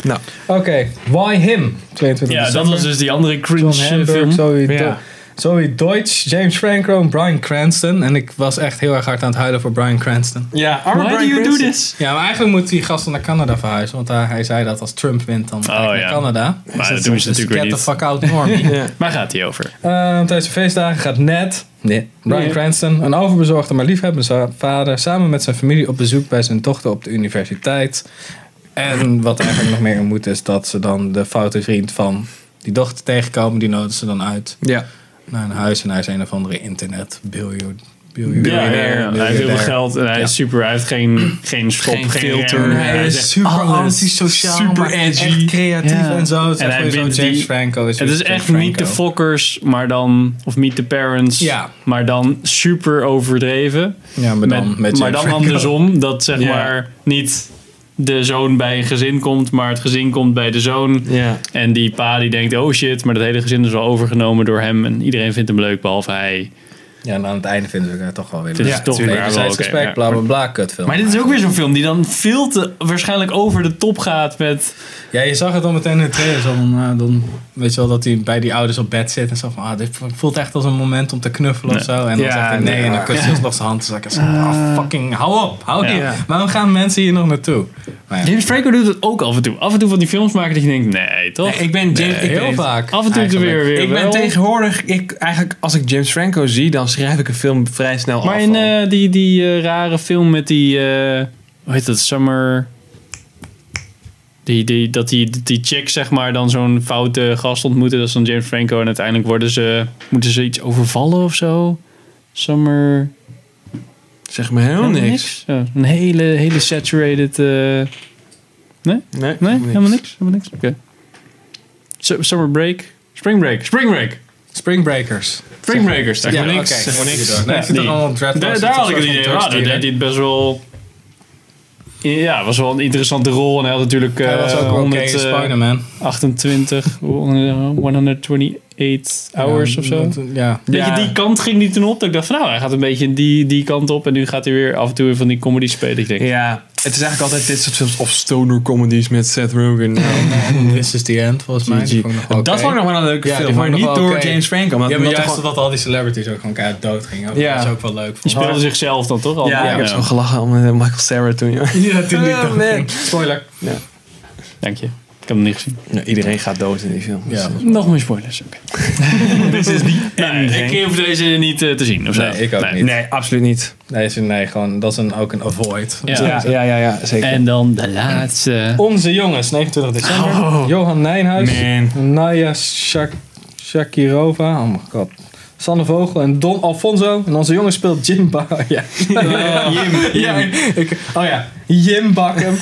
S2: nou.
S1: Oké, Why Him? 22
S3: Ja, dat
S1: december.
S3: was dus die andere cringe
S1: John
S3: eh,
S1: Hamburg,
S3: film.
S1: Zoe, Do-
S2: Ja.
S1: Zoe Deutsch, James Franco, en Bryan Cranston. En ik was echt heel erg hard aan het huilen voor Bryan Cranston.
S2: Ja, arme
S3: Why do
S2: Bryan
S3: you do
S2: Cranston.
S3: this?
S1: Ja, maar eigenlijk moet die gast naar Canada verhuizen. Want daar, hij zei dat als Trump wint, dan ga ik naar
S3: Oh, ja.
S1: Canada. Dus
S3: Maar dat
S1: is
S3: doen ze natuurlijk weer
S1: Get
S3: niet.
S1: the fuck out, normie.
S2: Ja.
S3: Waar gaat hij over?
S1: Eh, tijdens de feestdagen gaat Ned, nee, Brian
S2: Nee.
S1: Cranston, een overbezorgde maar liefhebbende za- vader, samen met zijn familie op bezoek bij zijn dochter op de universiteit. En wat er eigenlijk nog meer in moet, is dat ze dan de foute vriend van die dochter tegenkomen. Die nodigen ze dan uit
S2: Ja.
S1: naar een huis en hij is een of andere internet biljoen.
S3: Ja, ja, ja.
S1: biljonair,
S3: Hij heeft heel veel
S1: miljardair.
S3: geld en hij is super. Hij heeft geen, geen schop, geen,
S2: Geen filter.
S3: rem.
S2: Nee,
S1: Hij
S3: is
S1: is super
S3: echt alles.
S1: antisociaal,
S2: Super
S1: maar echt
S2: edgy.
S1: creatief
S3: Ja.
S1: en zo. Het is
S3: En
S1: echt
S3: hij
S1: weer zo'n
S3: wint
S1: James
S3: die-
S1: Franco.
S3: Het
S1: weer
S3: is
S1: James
S3: echt meet the
S1: Franco.
S3: fokkers, maar dan. Of meet the parents.
S1: Ja.
S3: Maar dan super overdreven.
S1: Ja, maar dan met,
S3: Met- maar
S1: James
S3: dan
S1: Franco.
S3: andersom. Dat zeg
S2: Ja.
S3: maar niet de zoon bij een gezin komt, maar het gezin komt bij de zoon.
S2: Ja.
S3: En die pa die denkt, oh shit, maar dat hele gezin is wel overgenomen door hem. En iedereen vindt hem leuk, behalve hij.
S1: Ja, en aan het einde vinden ze elkaar toch wel weer
S3: Dit is toch
S1: Tuurlijk,
S3: weer wel
S1: wederzijds
S3: oké,
S1: respect,
S3: ja.
S1: bla bla bla, kutfilm.
S3: Maar dit is ook weer zo'n film die dan veel te waarschijnlijk over de top gaat met...
S1: Ja, je zag het al meteen in de trailer. Zo van, eh, dan weet je wel dat hij bij die ouders op bed zit en zo van, ah, dit voelt echt als een moment om te knuffelen of zo. En dan
S2: Ja,
S1: zegt hij nee,
S2: nee,
S1: en
S2: maar-
S1: dan kust hij alsnog zijn hand. Dus ik zo, ah, fucking, hou op, hou
S3: Ja.
S1: hier. Waarom gaan mensen hier nog naartoe? Maar ja,
S3: James Franco doet het ook af en toe. Af en toe van die films maken dat je denkt, nee toch?
S2: ik ben James, ik
S1: heel
S2: ben-
S1: vaak.
S3: af en toe
S1: eigenlijk.
S3: weer weer
S2: Ik ben
S3: wel.
S2: tegenwoordig, ik, eigenlijk als ik James Franco zie, dan schrijf ik een film vrij snel
S3: Maar
S2: af.
S3: in
S2: al.
S3: eh, die, die eh, rare film met die... eh, hoe heet dat? Summer... Die, die, dat die, die chick zeg maar dan zo'n foute gast ontmoeten. Dat is dan James Franco. En uiteindelijk worden ze, moeten ze iets overvallen of zo. Summer...
S2: zeg me helemaal niks.
S3: Ja, een hele, hele saturated... eh,
S2: Nee,
S3: nee, helemaal niks. Helemaal niks. Oké. Su- Summer Break. Spring Break. Spring Break.
S1: Springbreakers.
S3: Spring Breakers. Daar
S1: Ja,
S3: voor
S1: oké.
S3: niks. Daar voor
S1: Nee, ik
S3: niks.
S1: zit
S3: Ja,
S1: er
S3: die.
S1: allemaal dreadlocks.
S3: Daar,
S1: Het
S3: daar
S1: is
S3: had ik
S1: een
S3: het
S1: soort
S3: idee
S1: van
S3: van, ah,
S1: Turks
S3: dat deed
S1: dier.
S3: hij het best wel... Ja, was wel een interessante rol. En hij had natuurlijk eh
S1: Hij was ook wel oké in
S3: 100, eh,
S1: Spider-Man.
S3: 28, 128 hours of zo.
S1: Ja, Ja.
S3: Weet je,
S2: Ja.
S3: die kant ging die toen op. Dat ik dacht van nou, hij gaat een beetje die, die kant op. En nu gaat hij weer af en toe weer van die comedy spelen. Ik denk,
S2: Ja, het is eigenlijk altijd dit soort films of stoner comedies met Seth Rogen. Nou,
S1: This is the end, volgens mij. dus Die vond ik nog wel
S2: Dat
S1: oké.
S2: vond ik nog wel een leuke
S1: Ja, die
S2: film,
S1: vond
S2: maar
S1: ik
S2: niet
S1: nog wel
S2: door
S1: oké.
S2: James Franco. omdat-
S1: Ja, maar
S2: omdat
S1: juist
S2: er
S1: omdat al die celebrities ook gewoon keihard dood gingen.
S2: Ja.
S1: Dat is ook wel leuk.
S3: die
S1: Vond. ik.
S3: speelde zichzelf dan toch?
S2: gewoon-
S3: allemaal?
S2: ja, ik heb zo gelachen om eh, Michael Sarah toen. joh.
S1: Ja, toen die
S2: Oh,
S1: dood
S2: man.
S1: ging. Spoiler.
S3: Dank je. Ik heb hem niet gezien.
S2: Ja, iedereen gaat dood in die film.
S1: Ja.
S3: Nog meer spoilers. Oké. Dit is die Ik hoef deze niet eh, te zien of zo.
S1: Nee, ik ook niet.
S2: Nee, absoluut niet.
S1: Nee, is een- nee gewoon, dat is een, ook een avoid.
S3: Ja.
S2: Ja, ja, ja, ja, zeker.
S3: En dan de laatste.
S1: Onze jongens, 29 december. Johan Nijnhuis.
S2: Man.
S1: Naya Shak Shakirova. Oh my god. Sanne Vogel en Don Alfonso. En onze jongen speelt Jim Ba- Ja. ja, ik- oh ja, Jim Bakken.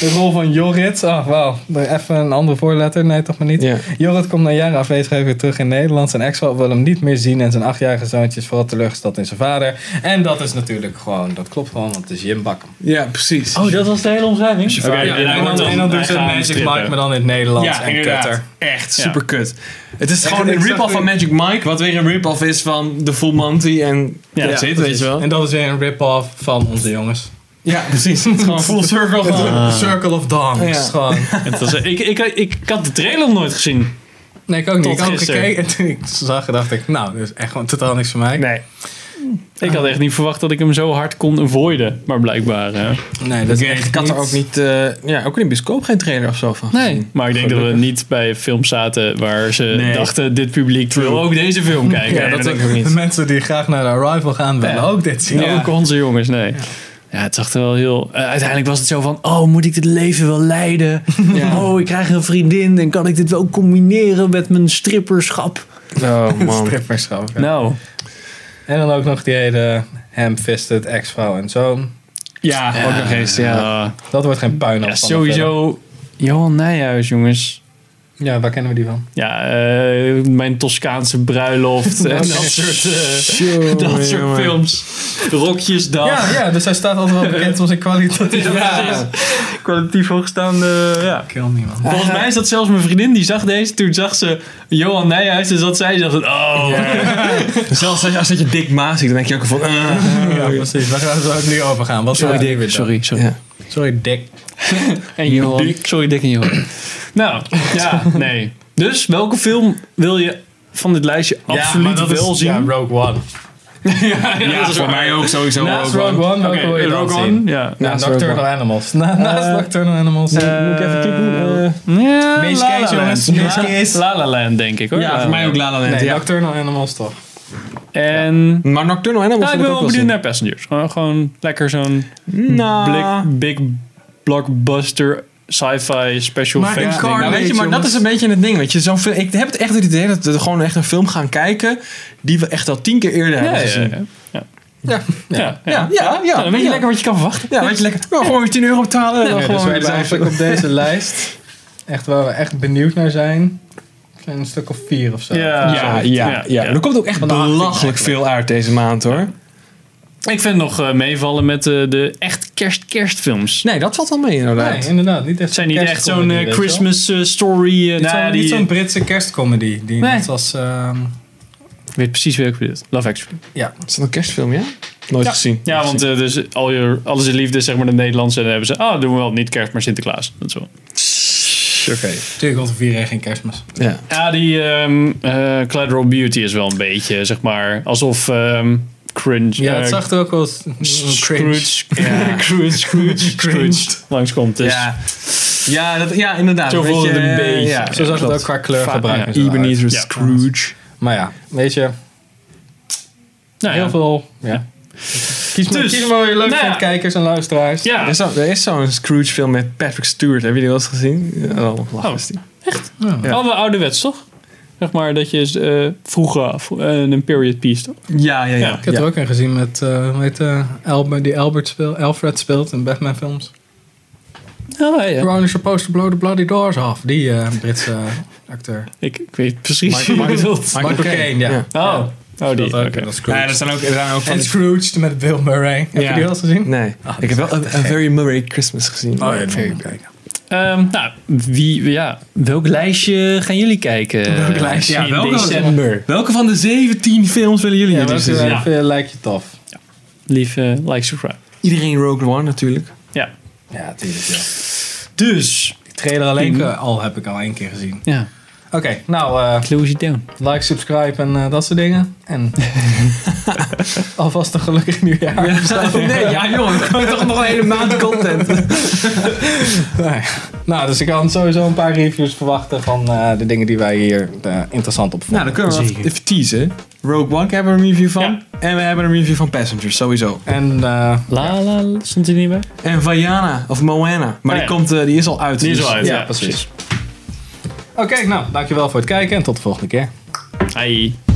S1: De rol van Jorrit. Oh, wauw. Even een andere voorletter. Nee, toch maar niet.
S2: Ja.
S1: Jorrit komt na jaren afwezigheid weer terug in Nederland. Zijn ex-vrouw wil hem niet meer zien. En zijn achtjarige zoontje is vooral teleurgesteld in zijn vader. En dat is natuurlijk gewoon... Dat klopt gewoon, want het is Jim Bakken.
S2: Ja, precies.
S3: Oh, dat was de hele omschrijving? Oké,
S2: Ja,
S3: en hij
S1: en
S3: wordt
S1: dan,
S3: dan-
S1: en dan doen
S3: hij
S1: ze
S3: gaat
S1: Magic
S3: strippen.
S1: Mike, maar dan in het Nederlands
S2: Ja,
S1: en
S2: inderdaad.
S1: kutter.
S2: Echt
S3: Ja.
S2: super kut. Het is
S1: Ja,
S2: gewoon een
S1: exact
S2: rip-off van Magic Mike, wat weer een rip-off is van The Full Monty en
S3: Ja,
S2: that's it, weet je wel.
S1: En dat is weer een rip-off van onze jongens.
S2: Ja, precies. Het is gewoon full circle. van-
S3: Ah.
S1: Circle of Dawn.
S2: Ja.
S1: Gewoon.
S3: Het was, ik, ik, ik, ik had de trailer nog nooit gezien.
S1: Nee, ik ook niet.
S3: Tot
S1: ik had hem
S3: gisteren.
S1: gekeken en toen ik zag, dacht ik, nou, dit is echt gewoon totaal niks voor mij.
S2: Nee.
S3: Ik had echt niet verwacht dat ik hem zo hard kon avoiden. Maar blijkbaar. eh,
S1: Nee, dat
S2: Ik,
S1: is echt
S2: ik had er ook niet, eh, ja, ook in de bioscoop geen trailer of zo van. gezien.
S3: Maar ik denk dat we niet bij films zaten waar ze
S2: Nee.
S3: dachten: dit publiek wil ook deze film kijken.
S2: Ja, dat denk ik ook
S1: De
S2: niet.
S1: mensen die graag naar de Arrival gaan, willen
S3: Ja.
S1: ook dit zien.
S3: Ook onze jongens, nee. Ja, het zag er wel heel... eh, uiteindelijk was het zo van... Oh, moet ik dit leven wel leiden?
S2: Ja.
S3: Oh, ik krijg een vriendin. En kan ik dit wel combineren met mijn stripperschap?
S2: Oh man.
S1: Stripperschap. ja.
S3: Nou.
S1: En dan ook nog die hele ham-fisted ex-vrouw en zoon.
S2: Ja, ook nog eens. Ja.
S3: eh,
S1: Dat wordt geen puinhoop
S3: ja,
S1: nou, van de film.
S3: sowieso... Johan Nijhuis, jongens.
S1: Ja, waar kennen we die van?
S3: Ja, eh, mijn Toscaanse bruiloft en dat soort, eh, dat soort films. Rokjesdag.
S1: Ja, ja, dus hij staat altijd wel bekend om zijn kwaliteit.
S3: Kwalitatief hoogstaande, ja.
S1: Kill me, man.
S3: Volgens mij is dat zelfs mijn vriendin die zag deze. Toen zag ze Johan Nijhuis en zat zij dacht van, oh.
S2: Zelfs als, als dat je dik maas dan denk je ook van... eh.
S1: Ja, precies. Waar gaan we het nu over gaan? Wat
S2: Sorry,
S1: sorry,
S2: Dick.
S1: Dick.
S2: Sorry, sorry.
S1: Sorry, Dick.
S3: En Johan. Sorry, Dick en Johan. nou, ja, nee. Dus welke film wil je van dit lijstje absoluut wel zien?
S1: Ja, Rogue One.
S2: Ja, voor mij ook sowieso.
S1: Naast Rogue One, welke
S3: Oké,
S1: wil je dan
S3: Rogue
S1: zien? Eh,
S3: One, ja.
S1: Ja,
S2: Naast
S1: Nocturnal
S2: Rogue
S1: Animals. Na- naast Nocturnal Animals.
S2: Moet ik even typen? Eh,
S3: Ja,
S1: Mees
S3: La La
S1: Kees,
S3: Land.
S1: jongens.
S3: Ja,
S1: Mees Kees.
S3: La La Land, denk ik hoor. La
S2: ja,
S3: La
S2: voor mij ook
S3: Land.
S2: La La Land.
S1: nee,
S2: ja.
S1: Nocturnal Animals toch?
S3: En...
S2: Maar Nocturnal Animals
S3: Nou,
S2: wil ook
S3: ik ben wel
S2: wel
S3: benieuwd
S2: zien.
S3: naar Passengers. Gewoon, gewoon lekker zo'n
S2: Nou,
S3: blik, big blockbuster sci-fi special
S1: Maar
S3: effects
S1: in
S3: ding.
S1: Car-
S2: Nou, weet je,
S1: Jongens.
S2: maar dat is een beetje het ding. Weet je, zo'n film, ik heb het echt het idee dat we gewoon echt een film gaan kijken die we echt al tien keer eerder
S3: Ja,
S2: hebben
S3: ja,
S2: gezien.
S3: ja. Ja.
S2: Ja.
S3: Ja, ja.
S2: Ja, ja, ja.
S3: Nou, dan weet je
S2: ja.
S3: lekker wat je kan verwachten.
S2: Ja, weet je lekker. Nou, gewoon weer 10 euro betalen. en dan
S1: Ja,
S2: gewoon
S1: dus we
S2: weer
S1: hebben
S2: zijn.
S1: eigenlijk op deze lijst, echt waar we echt benieuwd naar zijn, zijn een stuk of vier of zo.
S3: Ja.
S2: Ja, ja, ja. Er komt ook echt belachelijk veel uit deze maand hoor.
S3: Ik vind het nog eh, meevallen met eh, de echt kerst-kerstfilms.
S2: Nee, dat valt wel mee inderdaad.
S1: Nee, inderdaad. Niet echt
S3: Het zijn niet echt
S1: kerstcomedy,
S3: zo'n eh,
S1: weet je wel.
S3: Christmas eh, story. eh,
S1: Niet
S3: nou,
S1: zo'n-
S3: die,
S1: Niet zo'n Britse kerstcomedy. Die
S3: Nee.
S1: net als... ehm,
S3: Ik weet precies welke ik bedoel. Love Actually.
S1: ja,
S2: Is dat een kerstfilm, ja? Nooit gezien.
S3: Ja, want eh, dus al je, alles is liefde, zeg maar, de Nederlandse. En dan hebben ze, ah, doen we wel niet kerst, maar Sinterklaas. Dat is wel.
S2: Oké.
S1: natuurlijk was vier en geen kerstmis.
S2: eh, Ja.
S3: Ja, die ehm eh, Collateral Beauty is wel een beetje, zeg maar, alsof ehm, cringe...
S1: Ja,
S3: eh,
S1: het zag er ook wel eens- cringe.
S3: Scrooge, Scrooge, Scrooge, Scrooge langskomt. Dus.
S2: Ja. Ja, dat, ja, inderdaad.
S3: Zo
S2: Weet
S3: voelde
S2: je,
S3: het een
S2: eh,
S3: beetje.
S2: ja.
S1: Zo zag het
S2: Klopt.
S1: ook qua kleurgebruik.
S3: Ja,
S1: en zo uit.
S2: Ebenezer
S3: Ja.
S2: Scrooge.
S1: Maar ja, weet je,
S3: Nou,
S1: heel
S3: ja.
S1: veel. Ja. Kies maar,
S3: Dus,
S1: kies maar wat je leuk
S3: nou
S1: vindt,
S3: ja.
S1: kijkers en luisteraars.
S3: Ja,
S2: Er is zo- Er is zo'n Scrooge film met Patrick Stewart. Hebben jullie die wel eens gezien? Ja, Oh, lachen
S3: Oh.
S2: is die.
S3: ja.
S2: Ja.
S3: Alle ouderwets, toch? Zeg maar dat je eh, vroeger vro- eh, een period piece, toch?
S2: Ja, ja,
S3: Ja.
S2: ja.
S1: Ik heb er ook een gezien met, eh hoe heet, eh, Albert, die Albert speelt, Alfred speelt in Batman films.
S3: Ja, ja.
S1: You're only supposed to blow the bloody doors off. Die eh, Britse acteur.
S3: Ik, ik weet precies
S2: Michael-
S3: wie je
S2: Michael-
S3: bedoelt.
S1: Michael Caine, ja.
S2: Ja.
S3: Oh, oh die.
S1: Dat ook,
S3: oké.
S1: dat is Scrooge.
S2: Ja, er zijn ook, er zijn ook van
S1: en
S2: die-
S1: Scrooge met Bill Murray. Heb je
S2: Ja.
S1: die wel eens gezien?
S2: Nee. ik heb wel een A Very Merry Christmas gezien.
S1: Oh ja, die moet je kijken.
S3: Ehm, nou, wie, ja, welk lijstje gaan jullie kijken? Welk
S2: lijstje?
S3: In
S2: Ja, welke-
S3: december.
S2: Welke van de 17 films willen jullie dus,
S1: Ja,
S2: het liefst
S1: welke
S2: zien?
S1: eh, vind je- lijkt je tof?
S3: Lief, eh, like, subscribe.
S2: Iedereen Rogue One natuurlijk.
S3: Ja.
S1: Ja, tuurlijk ja.
S3: Dus.
S1: Die trailer alleen
S2: Mhm.
S1: eh, al heb ik al één keer gezien.
S3: Ja,
S1: Oké, nou, eh,
S3: close it down.
S1: like, subscribe en eh, dat soort dingen. En alvast een gelukkig nieuwjaar.
S2: Nee, ja joh, we komen toch nog een hele maand content.
S1: Nee. Nou, dus ik kan sowieso een paar reviews verwachten van eh, de dingen die wij hier eh, interessant op vonden.
S2: Nou, dan kunnen we wat even teasen. Rogue One hebben we een review van.
S3: Ja.
S2: En we hebben een review van Passengers, sowieso.
S1: En eh,
S3: La la, stond hij niet bij?
S2: En Vaiana, of Moana. Maar
S3: Oh,
S2: die,
S3: ja.
S2: komt, eh, die is al uit.
S3: Die is
S2: dus-
S3: al uit,
S1: ja,
S3: ja.
S1: precies. oké, nou, dankjewel voor het kijken en tot de volgende keer.
S3: Ai.